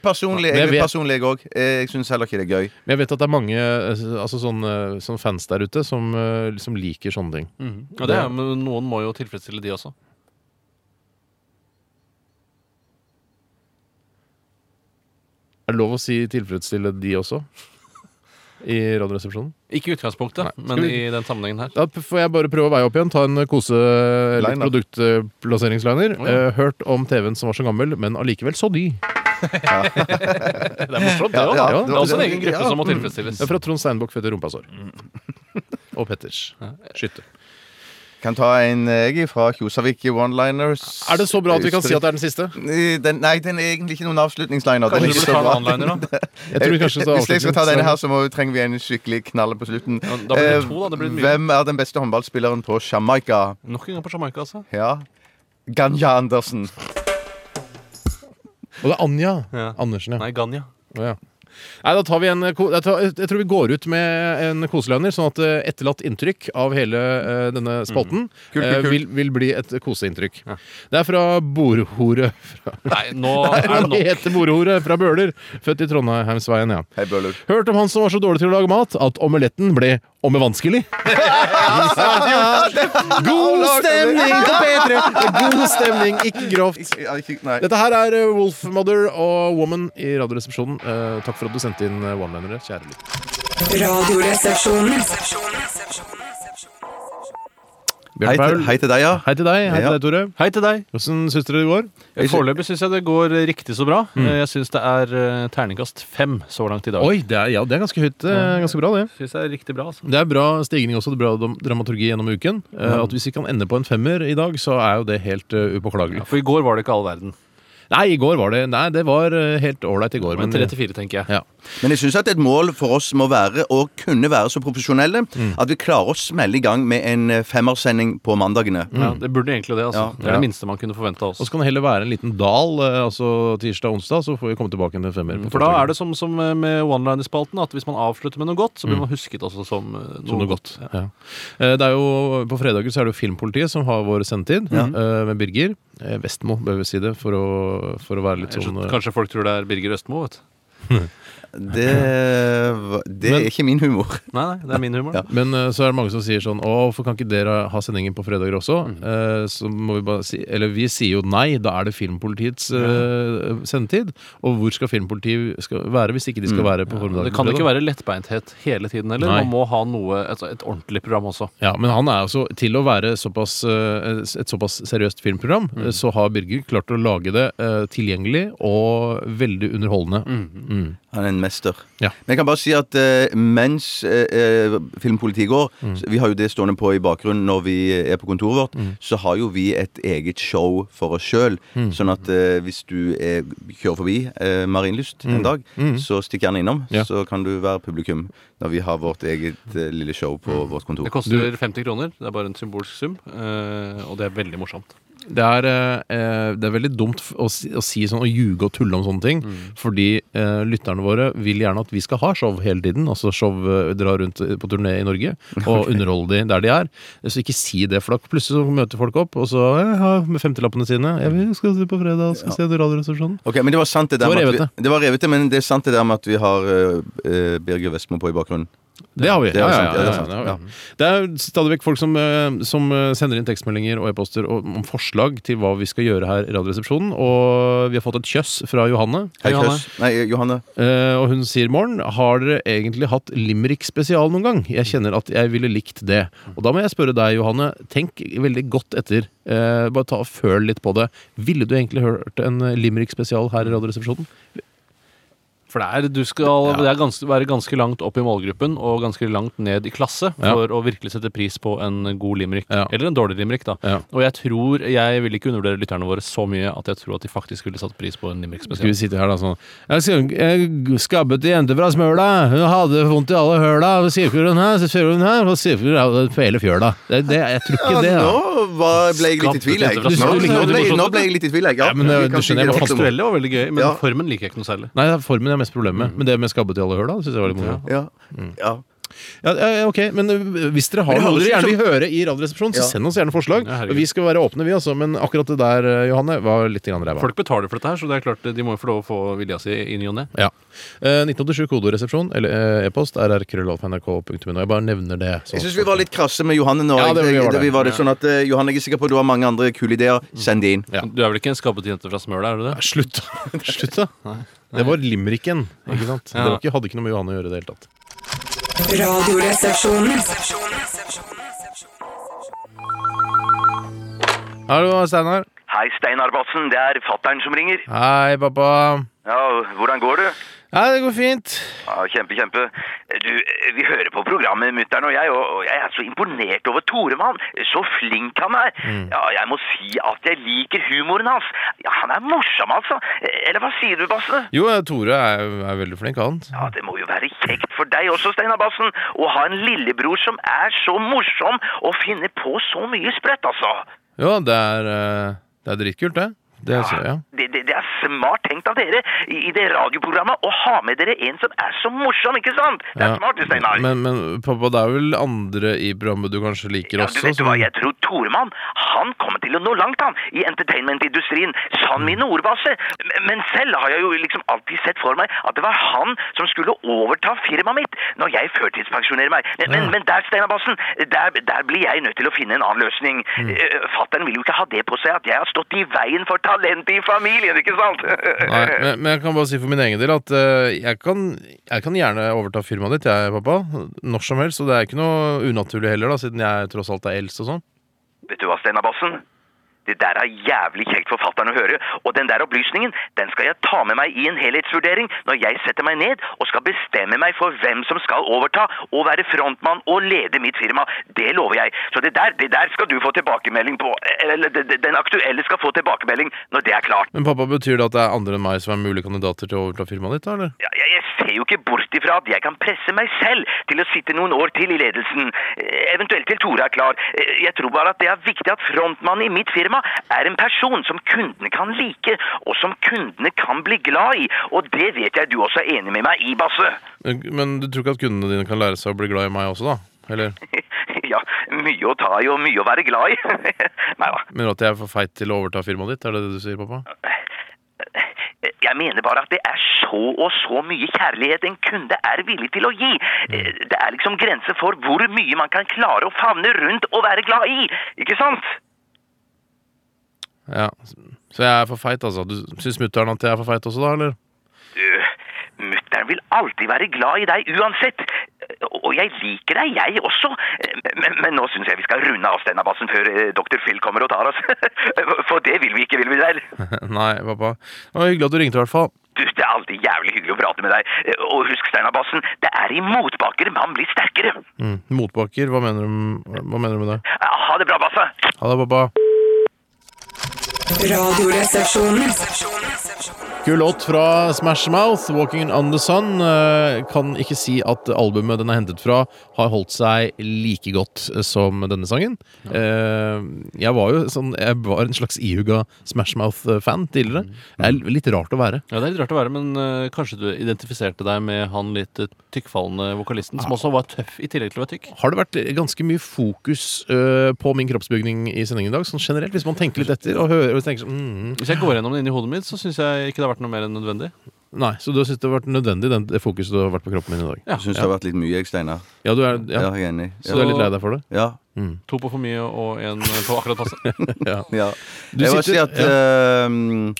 S4: Men
S5: personlig,
S4: jeg
S5: jeg,
S4: vet-
S5: personlig jeg òg. Jeg syns heller ikke det er gøy.
S4: Men jeg vet at det er mange eh, altså, sånne, sånne fans der ute som, eh, som liker sånne ting.
S6: Ja, det er, men noen må jo tilfredsstille de også.
S4: Er det lov å si tilfredsstille de også? I Radioresepsjonen?
S6: Ikke i utgangspunktet, men
S4: Skal vi-
S6: i den sammenhengen her.
S4: Da p- får jeg bare prøve å veie opp igjen. Ta en kose litt
S5: Line, da.
S4: produktplasseringsliner.
S6: Å, ja.
S4: Eh, hørt om TV-en som var så gammel, men allikevel så ny.
S6: Det er morsomt, det
S5: Ja,
S6: òg.
S5: ja,
S6: det er også en egen
S5: det-
S6: gruppe
S5: ja.
S6: som må tilfredsstilles.
S4: Det er fra Trond Steinbukk født i rumpasår. Og Petters. Skytter.
S5: Kan ta en eh, jeg fra Kjosavik i one-liners.
S4: Er det så bra at vi kan si at det er den siste?
S5: den, Nei, den er egentlig ikke noen avslutningsliner. Den
S6: Kanskje
S5: er
S6: du
S5: ikke
S6: burde
S5: så
S6: ta en
S5: bra.
S6: one-liner, da?
S4: Jeg tror vi kanskje skal
S5: Hvis jeg skal ta
S4: avslutte.
S5: denne her, så må, trenger vi en skikkelig knall på slutten. Eh,
S6: da blir det to, da. Det blir mye.
S5: Hvem er den beste håndballspilleren på Jamaica?
S6: Nok en gang på Jamaica, altså.
S5: Ja. Ganja Andersen.
S4: Og det er Anja
S6: Ja.
S4: Andersen, ja.
S6: Nei, Ganja.
S4: Å, ja. Nei, da tar vi en, eh, ko- jeg tror- jeg tror vi går ut med en koseløgner, sånn at eh, etterlatt inntrykk av hele eh, denne spalten
S5: kult,
S4: eh,
S5: kult.
S4: Vil, vil bli et koseinntrykk. Det er fra Borhore.
S6: Nei, nå er det
S4: Han
S6: nok.
S4: heter Borhore fra Bøler, født i Trondheimsveien, ja.
S5: Hei, Bøhler.
S4: Hørt om han som var så dårlig til å lage mat at omeletten ble omme vanskelig. God stemning på P3! God stemning, ikke grovt.
S5: Ikke- ja, ikke- Nei.
S4: Dette her er eh, Wolfmother og Woman i Radioresepsjonen. Eh, Takk for at du sendte inn eh, one-linere, kjære lytter.
S2: Radioresepsjonen.
S5: Hei til, hei til deg, ja.
S4: Hei til deg, hei
S5: Ja.
S4: til deg, Tore.
S6: Hei til deg.
S4: Hvordan syns dere det går?
S6: Foreløpig syns jeg det går eh, riktig så bra. Eh, Jeg syns det er eh, terningkast fem så langt i dag.
S4: Oi, det er, ja, det er ganske høyt. eh, Ganske bra, det.
S6: Synes jeg er riktig bra, altså.
S4: Det er bra stigning også, det er bra dom- dramaturgi gjennom uken. Eh, At Hvis vi kan ende på en femmer i dag, så er jo det helt eh, upåklagelig.
S6: For i går var det ikke all verden.
S4: Nei, i går var det Nei, det var eh, helt ålreit i går.
S6: Men tre til fire, tenker jeg.
S4: eh, ja.
S5: Men jeg syns at et mål for oss må være å kunne være så profesjonelle
S6: Mm.
S5: at vi klarer å smelle i gang med en eh, femmersending på mandagene.
S6: Ja, det burde egentlig det. altså
S5: Ja.
S6: Det er det minste man kunne forvente
S4: Og
S6: av oss.
S4: så kan det heller være en liten dal eh, altså tirsdag og onsdag, så får vi komme tilbake til en femmer.
S6: Mm, For da er det som, som eh, med one-liner-spalten, at hvis man avslutter med noe godt, så blir man husket også som eh, noe,
S4: noe godt. Ja. Eh, Det er jo, på fredager så er det jo Filmpolitiet som har vår sendetid, eh, med Birger. Eh, Vestmo, bør vi si det, for å, for å være litt
S6: Ellers
S4: sånn
S6: så-
S4: eh,
S6: Kanskje folk tror det er Birger Østmo, vet du.
S5: Det, var- det er ikke min humor.
S6: Nei, nei, det er min humor.
S5: Ja.
S4: Men eh, så er det mange som sier sånn Å, hvorfor kan ikke dere ha sendingen på fredager også?
S6: Mm.
S4: Eh, så må vi bare si Eller vi sier jo nei, da er det Filmpolitiets eh, sendetid. Og hvor skal Filmpolitiet skal være hvis ikke de skal være på formiddagen?
S6: Mm. Det kan
S4: på
S6: ikke
S4: fredag?
S6: være lettbeinthet hele tiden heller.
S4: Nei.
S6: Man må ha noe, et, et ordentlig program også.
S4: Ja, men han er også Til å være såpass, eh, et såpass seriøst filmprogram,
S6: Mm.
S4: eh, så har Birger klart å lage det eh, tilgjengelig og veldig underholdende.
S6: Mm.
S5: Han er en mester.
S4: Ja.
S5: Men jeg kan bare si at eh, mens eh, eh, Filmpolitiet går så- Vi har jo det stående på i bakgrunnen når vi eh, er på kontoret vårt. Så har jo vi et eget show for oss sjøl. Sånn at eh, hvis du er, kjører forbi eh, Marienlyst en dag, så stikk gjerne innom.
S4: Ja.
S5: Så kan du være publikum når vi har vårt eget eh, lille show på vårt kontor.
S6: Det koster 50 kroner. Det er bare en symbolsk sum. eh, og det er veldig morsomt.
S4: Det, er, eh, eh, det er veldig dumt f- å si, å si sånn og ljuge og tulle om sånne ting,
S6: Mm.
S4: fordi eh, lytterne våre vil gjerne at vi skal ha show hele tiden. Altså show eh, dra rundt eh, på turné i Norge og underholde de der de er. Så ikke si det, for da plutselig så møter folk opp og så eh, ja, med femtilappene sine. Jeg vil, skal se på fredag, skal se Radioresepsjonen.
S5: Ok, men Det var sant det der
S4: Det var
S5: med at
S4: revete.
S5: vi, det var revete, men det er sant det der med at vi har eh, eh, Birger Vestmo på i bakgrunnen.
S4: Det har vi.
S5: Det er
S4: ja, ja, ja,
S5: sant, ja, det er
S4: ja,
S5: sant.
S4: det, har vi. det er stadig vekk folk som, eh, som eh, sender inn tekstmeldinger og e-poster og- om forslag til hva vi skal gjøre her i Radioresepsjonen. Og vi har fått et kjøss fra Johanne.
S5: Hei,
S6: Johanne.
S5: Kjøs. Nei, Johanne.
S4: Eh, Og hun sier morgen, har dere egentlig hatt Limerick spesial noen gang? Jeg kjenner at jeg ville likt det. Og da må jeg spørre deg, Johanne. Tenk veldig godt etter. Eh, Bare ta og føl litt på det. Ville du egentlig hørt en Limerick spesial her i Radioresepsjonen?
S6: For det er, du skal det er gans, være ganske langt opp i målgruppen og ganske langt ned i klasse
S4: Ja.
S6: for å virkelig sette pris på en god limerick.
S4: Ja.
S6: Eller en dårlig limerick, da.
S4: Ja.
S6: Og jeg tror, jeg vil ikke undervurdere lytterne våre så mye at jeg tror at de faktisk ville satt pris på en limerick
S4: Skal
S6: spesial.
S4: vi sitte her da sånn Jeg skal- jeg skabbet ei jente fra Smøla. Hun hadde vondt i alle høla. Hva sier hun her? Så sier hun her, hva sier hun her? På hele fjøla. Det, det, jeg tror ikke det,
S5: Ja,
S4: da.
S5: nå var, ble jeg litt i tvil, jeg.
S6: Skapt et
S5: Nå,
S6: etterpå-
S5: nå, ble, nå ble jeg litt i tvil, jeg. Ja,
S4: Ja, men, eh,
S5: vi kan
S4: du skjønner,
S5: si
S4: jeg
S5: det
S6: Det
S4: var
S5: også.
S6: Faktuelle var veldig gøy, men
S5: Ja.
S6: formen liker jeg ikke noe særlig.
S4: Nei, det er formen jeg har mest problemer med. Men det med skabbet i alle høla, det syns jeg var litt moro.
S5: Ja. ja.
S4: Ja, ja, ok, men eh, hvis dere har
S5: Men det
S4: noe
S5: høres
S4: dere
S5: ut
S4: gjerne vil
S5: som-
S4: høre i Radioresepsjonen, så
S5: Ja.
S4: send oss gjerne forslag.
S6: Ja, herregud.
S4: vi skal være åpne, vi, altså. Men akkurat det der, eh, Johanne, var litt grann ræva.
S6: Folk betaler for dette her, så det er klart de må jo få lov å få vilja si i ny og ne.
S4: Ja. Eh, 1987 kodoresepsjon eller eh, e-post rrkrøllalfa.nrk.no. Jeg bare nevner det. så-
S5: Jeg syns vi var litt krasse med Johanne nå.
S4: Ja, det var- vi
S5: Jeg-
S4: var det. Mm.
S5: vi var det sånn at eh, Johanne, jeg er sikker på at du har mange andre kule ideer. Send de inn.
S4: Ja.
S6: Du er vel ikke en skabbete jente fra Smøla, er du det?
S4: Slutt, da. Slutt, da. Det var Limericken, ikke sant?
S6: Ja.
S4: Det var ikke, hadde ikke noe med Johanne å gjøre i det hele tatt.
S2: Radioresepsjonen.
S4: Hallo, Steinar.
S7: Hei, Steinar Bassen. Det er fattern som ringer.
S4: Hei, pappa.
S7: Ja, Hvordan går det?
S4: Nei, det går fint.
S7: Ja, Kjempe, kjempe. Du, eh, vi hører på programmet, mutter'n og jeg, og og jeg er så imponert over Toremann. Så flink han er. Ja, Jeg må si at jeg liker humoren hans. Ja, Han er morsom, altså. Eller hva sier du, Basse?
S4: Jo, eh, Tore er, er veldig flink, han.
S7: Ja, Det må jo være kjekt for deg også, Steinar Bassen, å ha en lillebror som er så morsom og finner på så mye sprøtt, altså.
S4: Jo, det er, eh, det er dritkult, det. Det ser jeg.
S7: Det, det, det er smart tenkt av dere i, i det radioprogrammet å ha med dere en som er så morsom, ikke sant? Det er
S4: Ja.
S7: smart, det, Steinar.
S4: Men, men pappa, det er vel andre i programmet du kanskje liker
S7: Ja,
S4: også?
S7: du vet
S4: som-
S7: hva, jeg tror Toremann, han kommer til å nå langt, han, i entertainmentindustrien. Sann mine ord, Basse. Men- Men selv har jeg jo liksom alltid sett for meg at det var han som skulle overta firmaet mitt når jeg førtidspensjonerer meg. Men, men,
S4: Ja.
S7: men der, Steinar Bassen, der, der blir jeg nødt til å finne en annen løsning. Mm. Fattern vil jo ikke ha det på seg at jeg har stått i veien for talentet i familien, ikke sant?
S4: Nei, men, men jeg kan bare si for min egen del at eh, jeg, kan, jeg kan gjerne overta firmaet ditt, jeg, pappa. Når som helst. Og det er ikke noe unaturlig heller, da, siden jeg tross alt er eldst og sånn.
S7: Vet du hva, Steinar Bassen? Det der er jævlig kjekt for fatter'n å høre, og den der opplysningen den skal jeg ta med meg i en helhetsvurdering når jeg setter meg ned og skal bestemme meg for hvem som skal overta og være frontmann og lede mitt firma. Det lover jeg. Så det der, det der skal du få tilbakemelding på. Eller det- det- den aktuelle skal få tilbakemelding når det er klart.
S4: Men pappa, betyr det at det er andre enn meg som er mulige kandidater til å overta firmaet ditt, da, eller?
S7: Ja, Jeg, jeg ser jo ikke bort ifra at jeg kan presse meg selv til å sitte noen år til i ledelsen. Eh, Eventuelt til Tore er klar. Eh, Jeg tror bare at det er viktig at frontmannen i mitt firma er en person som kundene kan like, og som kundene kan bli glad i. Og det vet jeg du også er enig med meg i, Basse.
S4: Men, men du tror ikke at kundene dine kan lære seg å bli glad i meg også, da? Eller
S7: Ja, mye å ta i og mye å være glad i. Nei da.
S4: mener du at jeg er for feit til å overta firmaet ditt? Er det det du sier, pappa?
S7: Jeg mener bare at det er så og så mye kjærlighet en kunde er villig til å gi. Eh, Det er liksom grenser for hvor mye man kan klare å favne rundt og være glad i, ikke sant?
S4: Ja. Så jeg er for feit, altså. Du syns mutter'n at jeg er for feit også, da, eller?
S7: Du, mutter'n vil alltid være glad i deg uansett. Eh, Og jeg liker deg, jeg også. Eh, Men, men nå syns jeg vi skal runde av Steinar Bassen før eh, doktor Phil kommer og tar oss. For det vil vi ikke, vil vi vel?
S4: Nei, pappa. Det var hyggelig at du ringte, i hvert fall.
S7: Du, det er alltid jævlig hyggelig å prate med deg. Eh, Og husk, Steinar Bassen, det er i motbakker man blir sterkere.
S4: Mm. Motbakker, hva mener, du, hva mener du med det?
S7: Eh, Ha det bra, Basse.
S4: Ha det, pappa.
S2: Radioresepsjonen.
S4: Kul låt fra Smash Mouth, 'Walking on the Sun'. Eh, Kan ikke si at albumet den er hentet fra, har holdt seg like godt eh, som denne sangen. Eh, Jeg var jo sånn, jeg var en slags ihuga Smash Mouth-fan tidligere. Det er litt rart å være.
S6: Mm. Ja, Det er litt rart å være, men eh, kanskje du identifiserte deg med han litt eh, tykkfallende vokalisten,
S4: Ah.
S6: som også var tøff i tillegg til å være tykk.
S4: Har det vært ganske mye fokus eh, på min kroppsbygning i sendingen i dag, sånn generelt? Hvis man tenker litt etter og hører og tenker sånn mm,
S6: Hvis jeg går gjennom det inni hodet mitt, så syns jeg ikke det har vært noe mer enn nødvendig.
S4: Nei, så du har syntes det har vært nødvendig, den- det fokuset du har vært på kroppen min i dag?
S5: Jeg syns det har vært litt mye, jeg, Steinar.
S4: Ja, du er,
S5: Ja,
S4: ja.
S5: jeg er enig.
S4: Så du er litt lei deg for det?
S5: Ja.
S6: To på for mye og én på akkurat passe.
S4: Ja.
S5: ja.
S4: Du
S5: jeg vil si
S4: sitter-
S5: at eh, mm,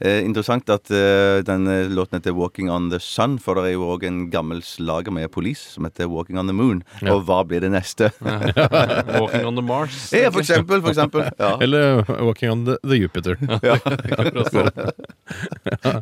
S5: eh, Interessant at eh, denne låten heter 'Walking on the Sun', for det er jo òg en gammel slager med Police som heter 'Walking on the Moon'. Og hva blir det neste?
S6: Walking on the Mars.
S5: Ja, for eksempel. For eksempel. Ja.
S4: Eller øh, 'Walking on the, the Jupiter'.
S5: Ja.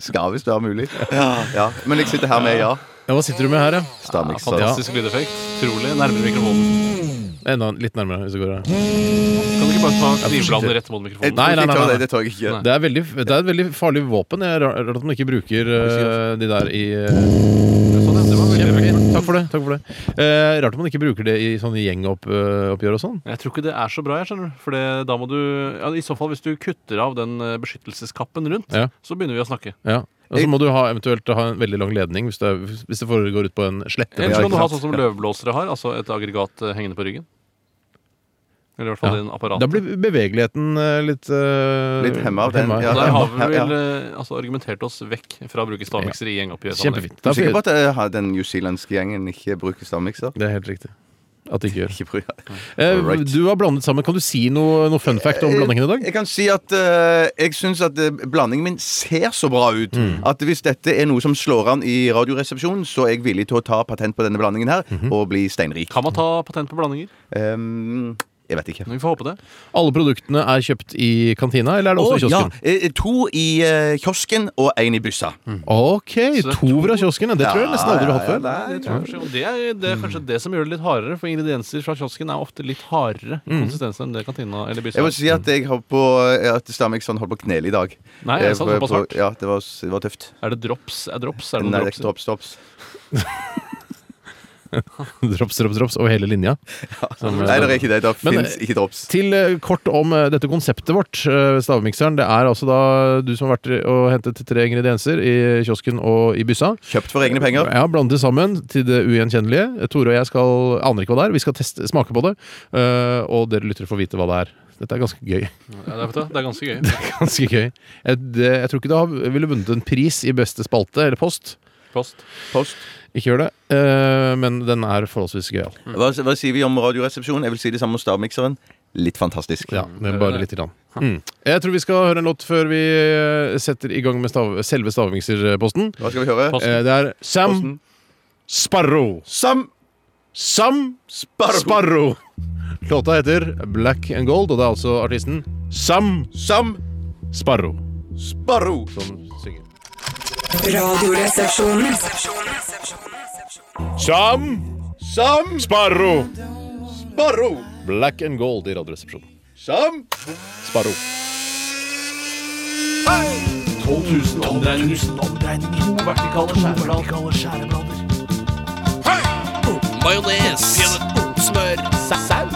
S5: Skal visst være mulig. Ja, ja. Men jeg sitter her med ja.
S4: Ja, hva sitter du med her, ja?
S5: Stamix.
S6: Fantastisk lydeffekt. Utrolig. Nærmere mikrofonen.
S4: Enda litt nærmere. hvis Det går her.
S6: Kan du ikke bare ta knivbladet rett mot mikrofonen?
S4: Nei, nei, nei, nei.
S5: Det tør jeg ikke.
S4: Det er, veldig, det er et veldig farlig våpen. Det er rart at man ikke bruker eh, de der i eh,
S6: Sånn, ja, det var veldig effektivt.
S4: Takk for for det. Takk for det. Eh, rart om man ikke bruker det i sånn sånne gjengoppgjør og sånn.
S6: Jeg tror ikke det er så bra, jeg skjønner du. For det, da må du ja, I så fall, hvis du kutter av den eh, beskyttelseskappen rundt,
S4: Ja.
S6: så begynner vi å snakke.
S4: Ja. Og så må du ha, eventuelt ha en veldig lang ledning hvis det, er- hvis det foregår ut på en slette.
S6: Eller
S4: Ja,
S6: så kan
S4: ikke
S6: du ha
S4: sant?
S6: sånn som løvblåsere har, altså et aggregat eh, hengende på ryggen. Eller i hvert fall
S4: Ja.
S6: en apparat.
S4: Da blir bevegeligheten eh, litt eh,
S5: Litt hemma av den,
S4: hemma,
S5: ja.
S6: Der har vi
S5: Ja,
S6: vel eh, altså, argumentert oss vekk fra å bruke stavmikser i gjengoppgjør.
S4: Kjempefint.
S5: Du
S4: Da
S5: er sikker på
S4: får-
S5: at eh, ha- den newzealandske gjengen ikke bruker stavmikser?
S4: Det er helt riktig. At det ikke gjør.
S5: Ikke bruker
S4: Eh,
S5: Alright.
S4: du har blandet sammen. Kan du si noe, noe fun fact
S5: Eh,
S4: om blandingen i dag?
S5: Jeg kan si at eh, jeg syns at eh, blandingen min ser så bra ut
S4: Mm.
S5: at hvis dette er noe som slår an i Radioresepsjonen, så er jeg villig til å ta patent på denne blandingen her
S4: Mhm.
S5: og bli steinrik.
S6: Kan man ta patent på blandinger?
S5: Ehm, jeg vet ikke.
S6: Vi får håpe det.
S4: Alle produktene er kjøpt i kantina, eller er det
S5: Å,
S4: også i
S5: ja,
S4: kiosken?
S5: eh, to i eh, kiosken og én i byssa.
S4: Ok,
S6: det er
S4: to fra kiosken. ja, Det tror jeg nesten aldri du har hatt før.
S6: Det, tror jeg, kanskje- og det, er, det er kanskje det som gjør det litt hardere, for ingredienser fra kiosken er ofte litt hardere i
S4: Mm.
S6: konsistens enn det kantina eller
S5: Jeg
S6: byssa.
S5: må si at jeg har på eh, At Stamikson holdt sånn på å knele i dag.
S6: Nei, er det
S5: Eh,
S6: sant?
S5: på-
S6: Såpass
S5: på-
S6: hardt?
S5: Ja, det var, det var tøft.
S6: Er det drops? Er drops? Er det
S5: Nei,
S6: noen
S5: det er ikke drops,
S6: drops?
S5: drops.
S4: Drops, drops, drops over hele linja.
S5: Nei, det er ikke det. Det
S4: Men,
S5: fins
S4: eh,
S5: ikke drops.
S4: Til eh, kort om eh, dette konseptet vårt, eh, stavmikseren. Det er altså da du som har vært og hentet tre ingredienser i kiosken og i byssa.
S5: Kjøpt for egne penger.
S4: Ja, Blandet det sammen til det ugjenkjennelige. Tore og jeg skal aner ikke hva det er. Vi skal teste, smake på det, eh, og dere lyttere får vite hva det er. Dette er ganske gøy.
S6: Ja, det, er, vet du, det er ganske gøy.
S4: Ganske gøy. Jeg, det, jeg tror ikke det har- ville vunnet en pris i beste spalte eller post.
S6: Post.
S5: Post.
S4: Ikke gjør det. eh, men den er forholdsvis gøyal.
S5: Hva, hva sier vi om Radioresepsjonen? Jeg vil si det samme om stavmikseren. Litt fantastisk.
S4: Ja, men bare litt. Grann. Mm. Jeg tror vi skal høre en låt før vi eh, setter i gang med stav, selve stavmikserposten.
S5: Hva skal vi høre?
S6: Post.
S4: Eh, det er Sam
S5: Posten.
S4: Sparrow.
S5: Sam
S4: Sam
S5: Sparrow.
S4: Sparrow. Låta heter Black and Gold, og det er altså artisten Sam
S5: Sam
S4: Sparrow
S5: Sparrow.
S4: som synger.
S2: Radioresepsjonen.
S4: Sam
S5: Sam
S4: Sparrow!
S5: Sparrow.
S4: Black and Gold i Radioresepsjonen.
S5: Sam
S6: 12 000 omdreininger. To vertikale skjæreblader.
S1: Majones. Smør.
S6: Saus.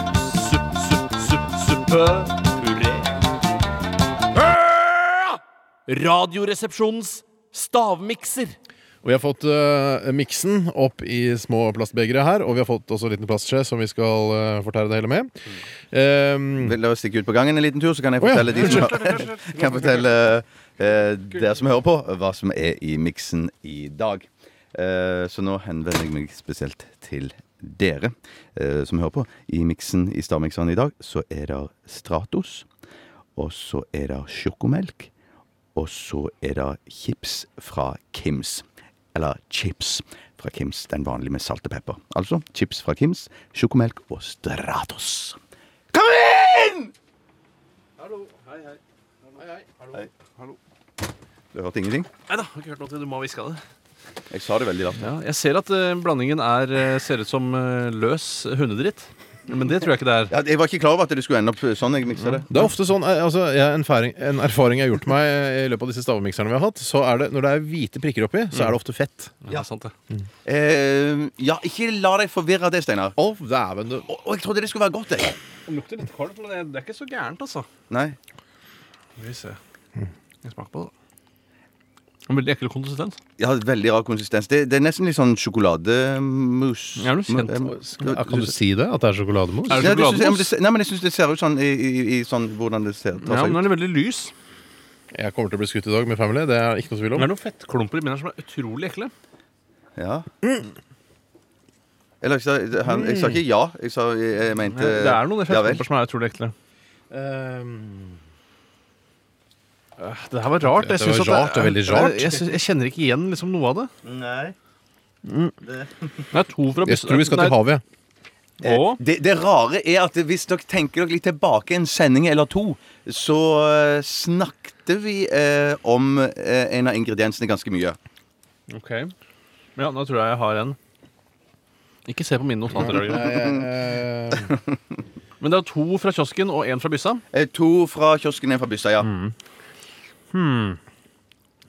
S6: Supp, supp, supp, suppe. Puré. Radioresepsjonens stavmikser.
S4: Og vi har fått eh, miksen opp i små plastbegre her, og vi har fått også en liten plastskje som vi skal eh, fortære det hele med. Um,
S5: Vil dere stikke ut på gangen en liten tur, så kan jeg
S4: Å, ja.
S5: fortelle, de som, kan jeg fortelle eh, dere som hører på, hva som er i miksen i dag. Eh, så nå henvender jeg meg spesielt til dere eh, som hører på. I miksen i Starmikseren i dag så er det Stratos, og så er det sjokomelk, og så er det chips fra Kims. Eller chips fra Kims, den vanlige med salt og pepper. Altså chips fra Kims, sjokomelk og Stratos. Kom inn! Du hørte ingenting?
S6: Nei da, har ikke hørt noe til. Du må ha hviska det.
S5: Jeg sa det veldig lavt.
S6: Ja, jeg ser at eh, blandingen er, eh, ser ut som eh, løs hundedritt. Men det tror jeg ikke det er.
S5: Ja, jeg var ikke klar over at det skulle ende opp sånn. Jeg miksa det.
S4: Det er ofte sånn, eh, altså, jeg, en, færing, en erfaring jeg har gjort meg eh, i løpet av disse stavmikserne vi har hatt, så er det, når det er hvite prikker oppi, så er det ofte fett.
S6: Ja, sant det.
S5: Eh, ja, ikke la deg forvirre av det, Steinar.
S4: Å, dæven du.
S5: Å, å, jeg trodde det skulle være godt, jeg.
S6: Det lukter litt kvalmt, men det, det er ikke så gærent, altså.
S5: Nei.
S6: Skal vi se. Jeg smaker på det. da. En Veldig ekkel konsistens.
S5: Jeg har veldig rar konsistens. Det, det er nesten litt sånn sjokolademousse.
S6: Ja, du kjente-
S4: Ja, kan du si det? At det er sjokolademos?
S6: Er det Altså-
S5: Ja, det synes jeg, ja, men det,
S6: sjokolademousse?
S5: ser- nei, men jeg syns det ser ut sånn i, i, i sånn hvordan det ser tar
S6: Ja,
S5: seg
S6: men
S5: ut.
S6: den er veldig lys.
S4: Jeg kommer til å bli skutt i dag med Family, det er ikke noe tvil
S6: Det
S4: om.
S6: er noen fettklumper i midten her som er utrolig ekle.
S5: Ja. Eller, jeg, sa, han, jeg sa ikke ja. Jeg, sa, jeg, jeg mente
S6: Det er noen
S5: ja vel.
S6: fettklumper som er utrolig ekle.
S4: Ehm,
S6: Det her var rart.
S4: Det
S6: Jeg synes
S4: var
S6: at
S4: rart, det er veldig rart.
S6: Jeg, synes, jeg kjenner ikke igjen liksom noe av det.
S5: Nei.
S6: Det er to fra
S4: jeg tror vi skal til havet.
S5: Eh,
S6: Og
S5: Det, det rare er at hvis dere tenker dere litt tilbake en sending eller to, så eh, snakket vi eh, om eh, en av ingrediensene ganske mye.
S6: OK. Ja, nå tror jeg jeg har en. Ikke se på mine notater. Jørgen.
S4: Eh,
S6: Men det er to fra kiosken og én fra byssa.
S5: Eh, to fra kiosken, en fra byssa, ja.
S6: Det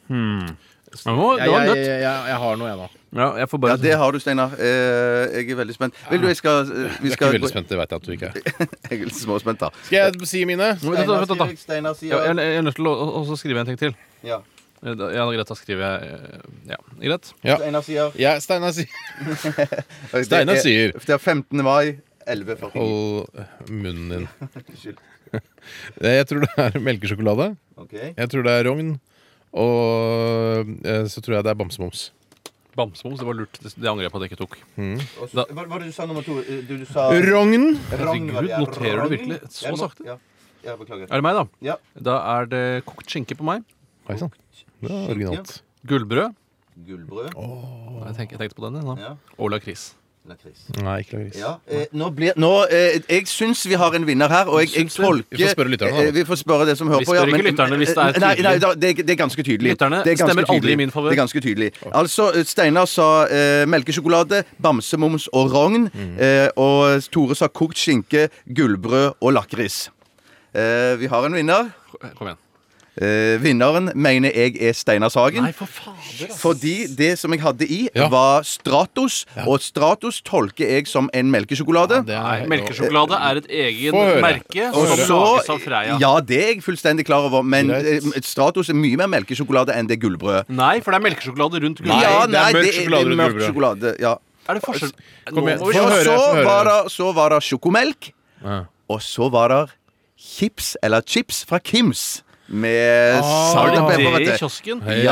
S6: var, det var
S4: jeg,
S6: nøtt.
S4: jeg, jeg, jeg har noe, jeg nå.
S6: Ja, jeg får
S5: Ja,
S6: bare
S5: det har du, Steinar. Eh, jeg er veldig spent. Vil du jeg skal eh, Vi
S4: Jeg er
S5: skal
S4: ikke veldig spent, det vet jeg at du ikke er.
S5: Jeg er litt småspent, da.
S4: Skal jeg si mine?
S6: Vent, vent, vent, vent, da.
S5: jeg, Steinar
S6: Ja, jeg,
S5: sier
S6: jeg er nødt til å å- å skrive en ting til.
S5: Ja.
S6: Eh, da- Ja, greit, da skriver jeg eh, Ja, greit.
S5: Steinar sier
S4: Ja, Steinar sier Steinar
S5: Det er-
S4: sier-
S5: Det er 15. mai 11.49.
S4: Hold munnen din.
S5: Unnskyld.
S4: Eh, Jeg tror det er melkesjokolade.
S5: Ok.
S4: Jeg tror det er rogn. Og eh, så tror jeg det er bamsemums.
S6: Bamsemums, det var lurt. Det, det angrer jeg på at jeg ikke tok.
S5: Og så-
S6: Da-
S5: Hva var det du sa nummer to? Eh, Du, du sa
S4: Rogn!
S5: Ragn, var det, ja.
S6: Herregud, noterer du
S5: Ragn?
S6: virkelig så
S5: Jeg må-
S6: sakte?
S5: Ja. Ja, beklager.
S6: Er det meg, da?
S5: Ja.
S6: Da er det kokt skinke på meg.
S4: Oi sann. Det var originalt.
S6: Gullbrød.
S5: Gullbrød.
S6: Jeg, tenk, jeg tenkte på den. jeg, da.
S5: Ja.
S6: Og lakris.
S5: Lakris.
S4: Nei, ikke lakris.
S5: Ja, eh, nå blir, nå, eh, jeg syns vi har en vinner her, og jeg, jeg tolker
S4: Vi får spørre lytterne, da.
S5: eh, Vi får spørre det som hører
S6: Vi
S5: på. ja,
S6: spør ikke
S5: men-
S6: lytterne hvis det er
S5: Eh, Nei, nei
S6: tydelig.
S5: da, det, er- det er ganske tydelig.
S6: Lytterne
S5: Det er ganske
S6: stemmer aldri
S5: tydelig.
S6: i min favør.
S5: Det er ganske tydelig. Altså, eh, Steinar sa eh, melkesjokolade, bamsemums og rogn. Eh, og Tore sa kokt skinke, gullbrød og lakris. Eh, vi har en vinner.
S6: Kom igjen.
S5: Eh, vinneren mener jeg er Steinar Sagen.
S6: Nei, for fader, ass.
S5: Fordi det som jeg hadde i,
S4: Ja.
S5: var Stratos. Og Stratos tolker jeg som en melkesjokolade.
S4: Det
S6: Nei,
S4: er
S6: melkesjokolade er et eget
S4: Få høre.
S6: merke
S5: Og
S6: som lages av
S5: så,
S6: Freia.
S5: ja, det er jeg fullstendig klar over, men
S4: Greit.
S5: eh, Stratos er mye mer melkesjokolade enn det gullbrødet.
S6: Nei, for det er melkesjokolade rundt gullbrød.
S5: ja,
S4: det er mørk sjokolade rundt
S5: mørk
S4: gullbrød.
S5: sjokolade. Ja.
S6: Er det forskjell
S4: Kom igjen.
S6: Nå må vi-
S4: Få
S5: Og
S4: høre,
S5: så
S4: få høre.
S5: var, det, så var det sjokomelk,
S4: Ja.
S5: og så var det chips, eller chips fra Kims. Med
S4: Ah,
S6: Har
S5: salt
S6: de
S5: og pepper.
S6: det i
S5: vet du.
S6: kiosken?
S5: Ja, det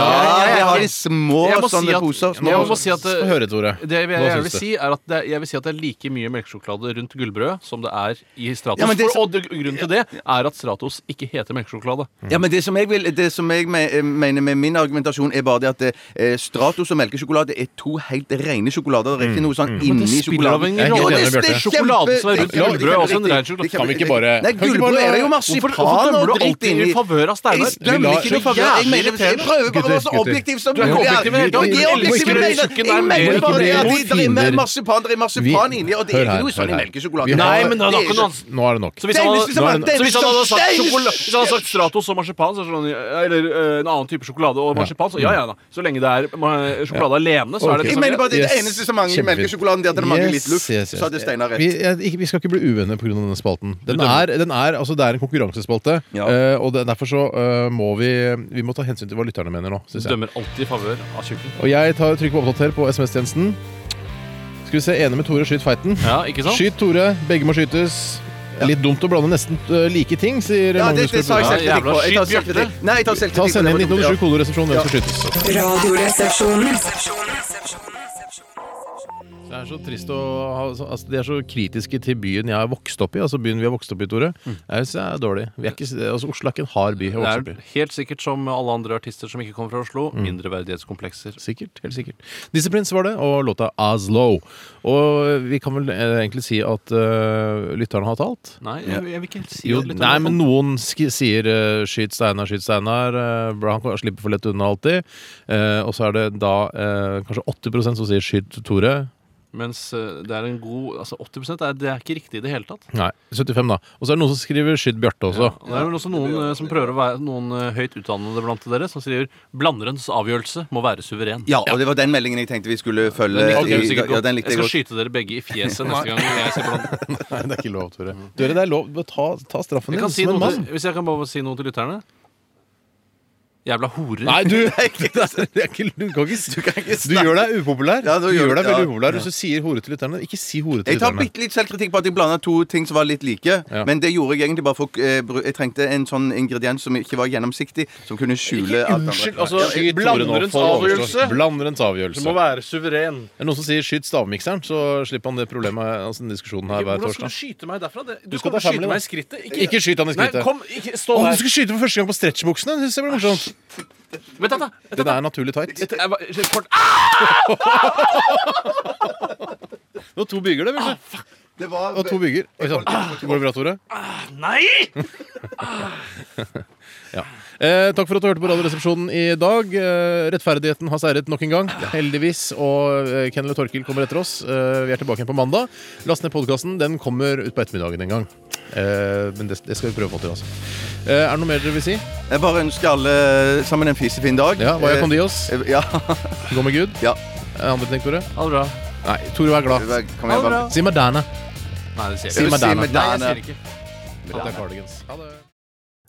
S5: har de
S6: jeg,
S5: små
S6: Jeg må si
S5: sånne
S6: at-
S5: poser.
S6: jeg
S5: Små
S6: må
S5: poser.
S6: si at,
S4: Få høre, Tore.
S5: eh,
S6: det jeg, jeg,
S4: Hva
S6: vil
S4: syns
S6: si er at det, jeg vil si at det er like mye melkesjokolade rundt gullbrød som det er i Stratos.
S5: Ja, men det
S6: for,
S5: som-
S6: og det, grunnen til det er at Stratos ikke heter melkesjokolade.
S5: Ja, men Det som jeg, vil, det som jeg me- eh, mener med min argumentasjon, er bare det at eh, Stratos og melkesjokolade er to helt rene sjokolader.
S4: Mm,
S5: Det er ikke noe sånn inni
S6: spiller av en
S5: sjokoladen. Jo,
S6: rolle.
S4: Jeg er enig
S5: det
S4: med
S5: det er
S6: Bjarte. Sjokoladen som er rundt
S5: kjempe-
S6: gullbrød er også en
S5: Riktig,
S6: ren sjokolade.
S5: riktig,
S4: Kan vi ikke bare-
S5: riktig.
S4: kan
S5: Nei,
S4: vi ikke
S5: gullbrød
S4: bare-
S5: er jo
S6: Hvorfor,
S5: marsipan
S6: hvorfor dømmer du
S5: og dritt
S6: alltid
S5: inni.
S6: i favør av Steinar?
S5: Jeg dømmer
S4: lar-
S5: ikke noe favør. Jeg, mener, jeg prøver bare å være så
S4: Gutter,
S5: objektiv som
S6: Du er ikke
S5: mulig her.
S6: objektiv i det hele tatt.
S5: Jeg er objektiv i det hele tatt. Jeg mener bare det at det er mer marsipan, det er marsipan inni, og det er ikke noe sånn i melkesjokolade.
S4: Vi har-
S6: Nei, men det er nok en annen-
S4: Nå er det nok.
S6: Så hvis
S5: Det er
S6: han
S5: liksom-
S6: hadde,
S4: nå er det-
S6: så hvis han hadde sagt,
S5: det er liksom-
S6: sjokola- hvis han hadde sagt Stratos og marsipan, så er det sånn, eller eh, en annen type sjokolade og marsipan, så ja ja da. Så lenge det er eh, sjokolade alene, så er det
S4: Ok.
S5: Jeg
S6: liksom
S5: mener bare at det er det
S4: Yes.
S5: eneste som mangler i
S4: Kjempefint.
S5: melkesjokoladen, det er at det mangler litt luft.
S4: Yes, yes, yes.
S5: Så hadde Steinar rett.
S4: Vi, jeg, ikke, vi skal ikke bli uvenner pga. denne spalten. Den er, den er, altså, det er en konkurransespalte,
S5: Ja.
S4: eh, og det, derfor så eh, må vi Vi må ta hensyn til hva lytterne mener nå. Synes jeg.
S6: Dømmer alltid i favør av tjukken.
S4: Og jeg tar trykk på oppdater på SMS-tjenesten. Skal vi se, Enig med Tore, skyt feiten.
S6: Ja, ikke sant?
S4: Skyt Tore, begge må skytes. Litt dumt å blande nesten eh, like ting, sier
S5: Ja, det,
S4: Magnus.
S5: det sa jeg
S6: Ja,
S5: selvkritikk
S6: jævla
S5: på. Jeg tar
S6: skyt, Bjarte.
S5: selvkritikk. Nei, jeg tar selvkritikk.
S4: Ta
S5: på
S4: Send inn
S5: det.
S4: 1987 koderesepsjon, hvem som skytes.
S2: Radioresepsjonen.
S4: Det er så trist å ha så- altså, De er så kritiske til byen jeg har vokst opp i. Altså byen vi har vokst opp i, Tore. Jeg synes jeg er dårlig. Vi er ikke, altså, Oslo er ikke en hard by. å
S6: Det
S4: vokse opp i.
S6: er helt sikkert som alle andre artister som ikke kommer fra Oslo, mindreverdighetskomplekser.
S4: Sikkert, helt sikkert. Disciplines var det, og låta Aslo. Og vi kan vel eh, egentlig si at eh, lytterne har talt.
S6: Nei, jeg, jeg vil ikke helt si
S4: Jo,
S6: det litt
S4: nei,
S6: om
S4: men
S6: det.
S4: noen sk sier eh, 'skyt Steinar, skyt Steinar'. eh, bra, han kan- slipper for lett unna alltid. Eh, og så er det da eh, kanskje 80 som sier 'skyt Tore'.
S6: Mens eh, det er en god Altså 80 er, det er ikke riktig i det hele tatt.
S4: Nei, 75, da. Og så er det noen som skriver 'skyt Bjarte' også.
S6: Og Det er vel også noen eh, som prøver å være noen eh, høyt utdannede blant dere, som sier blanderens avgjørelse må være suveren.
S5: Ja, og det var den meldingen jeg tenkte vi skulle følge.
S6: Den likte
S5: i-
S6: du sikkert
S5: ja,
S6: godt.
S5: den
S6: Jeg
S5: likte jeg
S6: skal
S5: godt.
S6: skyte dere begge i fjeset neste gang jeg ser blander.
S4: Nei, det er ikke lov, Tore. Tore, det er lov. Ta, ta straffen
S6: Jeg
S4: din
S6: kan si
S4: som en
S6: noe til,
S4: mann.
S6: hvis jeg kan bare si noe til lytterne? Jævla horer.
S4: Nei, du, det er ikke, det er ikke, du kan ikke si- Du
S5: snakke-
S4: gjør deg upopulær.
S5: Ja,
S4: du
S5: nå gjør
S4: gjør deg
S5: du-
S4: veldig
S5: ja.
S4: upopulær Hvis du sier hore til lytterne. Ikke si hore til
S5: Jeg tar
S4: lytterne.
S5: bitte litt selvkritikk på at jeg blanda to ting som var litt like.
S4: Ja.
S5: Men det gjorde jeg egentlig bare for eh, bru- Jeg trengte en sånn ingrediens som ikke var gjennomsiktig, som kunne skjule alt annet.
S6: unnskyld, altså,
S5: Ja, jeg-
S6: skyt Blanderens avgjørelse.
S4: Blanderens avgjørelse.
S6: være suveren.
S4: Er det noen som sier 'skyt stavmikseren', så slipper han det problemet altså, den diskusjonen her hver
S6: Hvordan skal du
S4: torsdag.
S6: skyte meg derfra? Det-
S4: skal
S6: Du skal
S4: ta
S6: jo skyte
S4: family, da.
S6: meg i skrittet.
S4: Ikke skyt han i
S6: Nei,
S4: skrittet.
S6: kom, ikke, stå
S4: Å, du
S6: der.
S4: skal skyte for første gang på stretchbuksene! Det synes jeg blir morsomt.
S6: Vent, da, da. Vent,
S4: Den
S6: da.
S4: er naturlig tight.
S6: Jeg var- jeg- kort- Ah!
S4: Det var to bygger, det. Bjørte.
S5: Det var
S4: Det var to bygger. Oi sann. Går det Ah, bra, Tore?
S6: Nei!
S4: Eh, takk for at du hørte på Radioresepsjonen i dag. Eh, rettferdigheten har seiret nok en gang, heldigvis. Og eh, Kennel og Torkil kommer etter oss. Eh, vi er tilbake igjen på mandag. Last ned podkasten. Den kommer utpå ettermiddagen en gang. Eh, men det, det skal vi prøve å få til, altså. Eh, er det noe mer dere vil si?
S5: Jeg bare ønsker alle sammen en fisefin dag.
S4: Ja, hva gjør
S5: Eh,
S4: Kondios?
S5: eh, Ja.
S4: Gå med Gud.
S5: ja.
S4: Eh, Andre ting, Tore?
S6: Ha det bra.
S4: Nei, Tore, vær glad.
S5: Kom igjen, bare.
S4: Si Madonna.
S6: Nei, det sier
S4: Si
S6: jeg ikke.
S4: Madonna.
S5: Si Madonna.
S6: Nei, jeg sier det ikke.
S4: At det er cardigans. Ha det.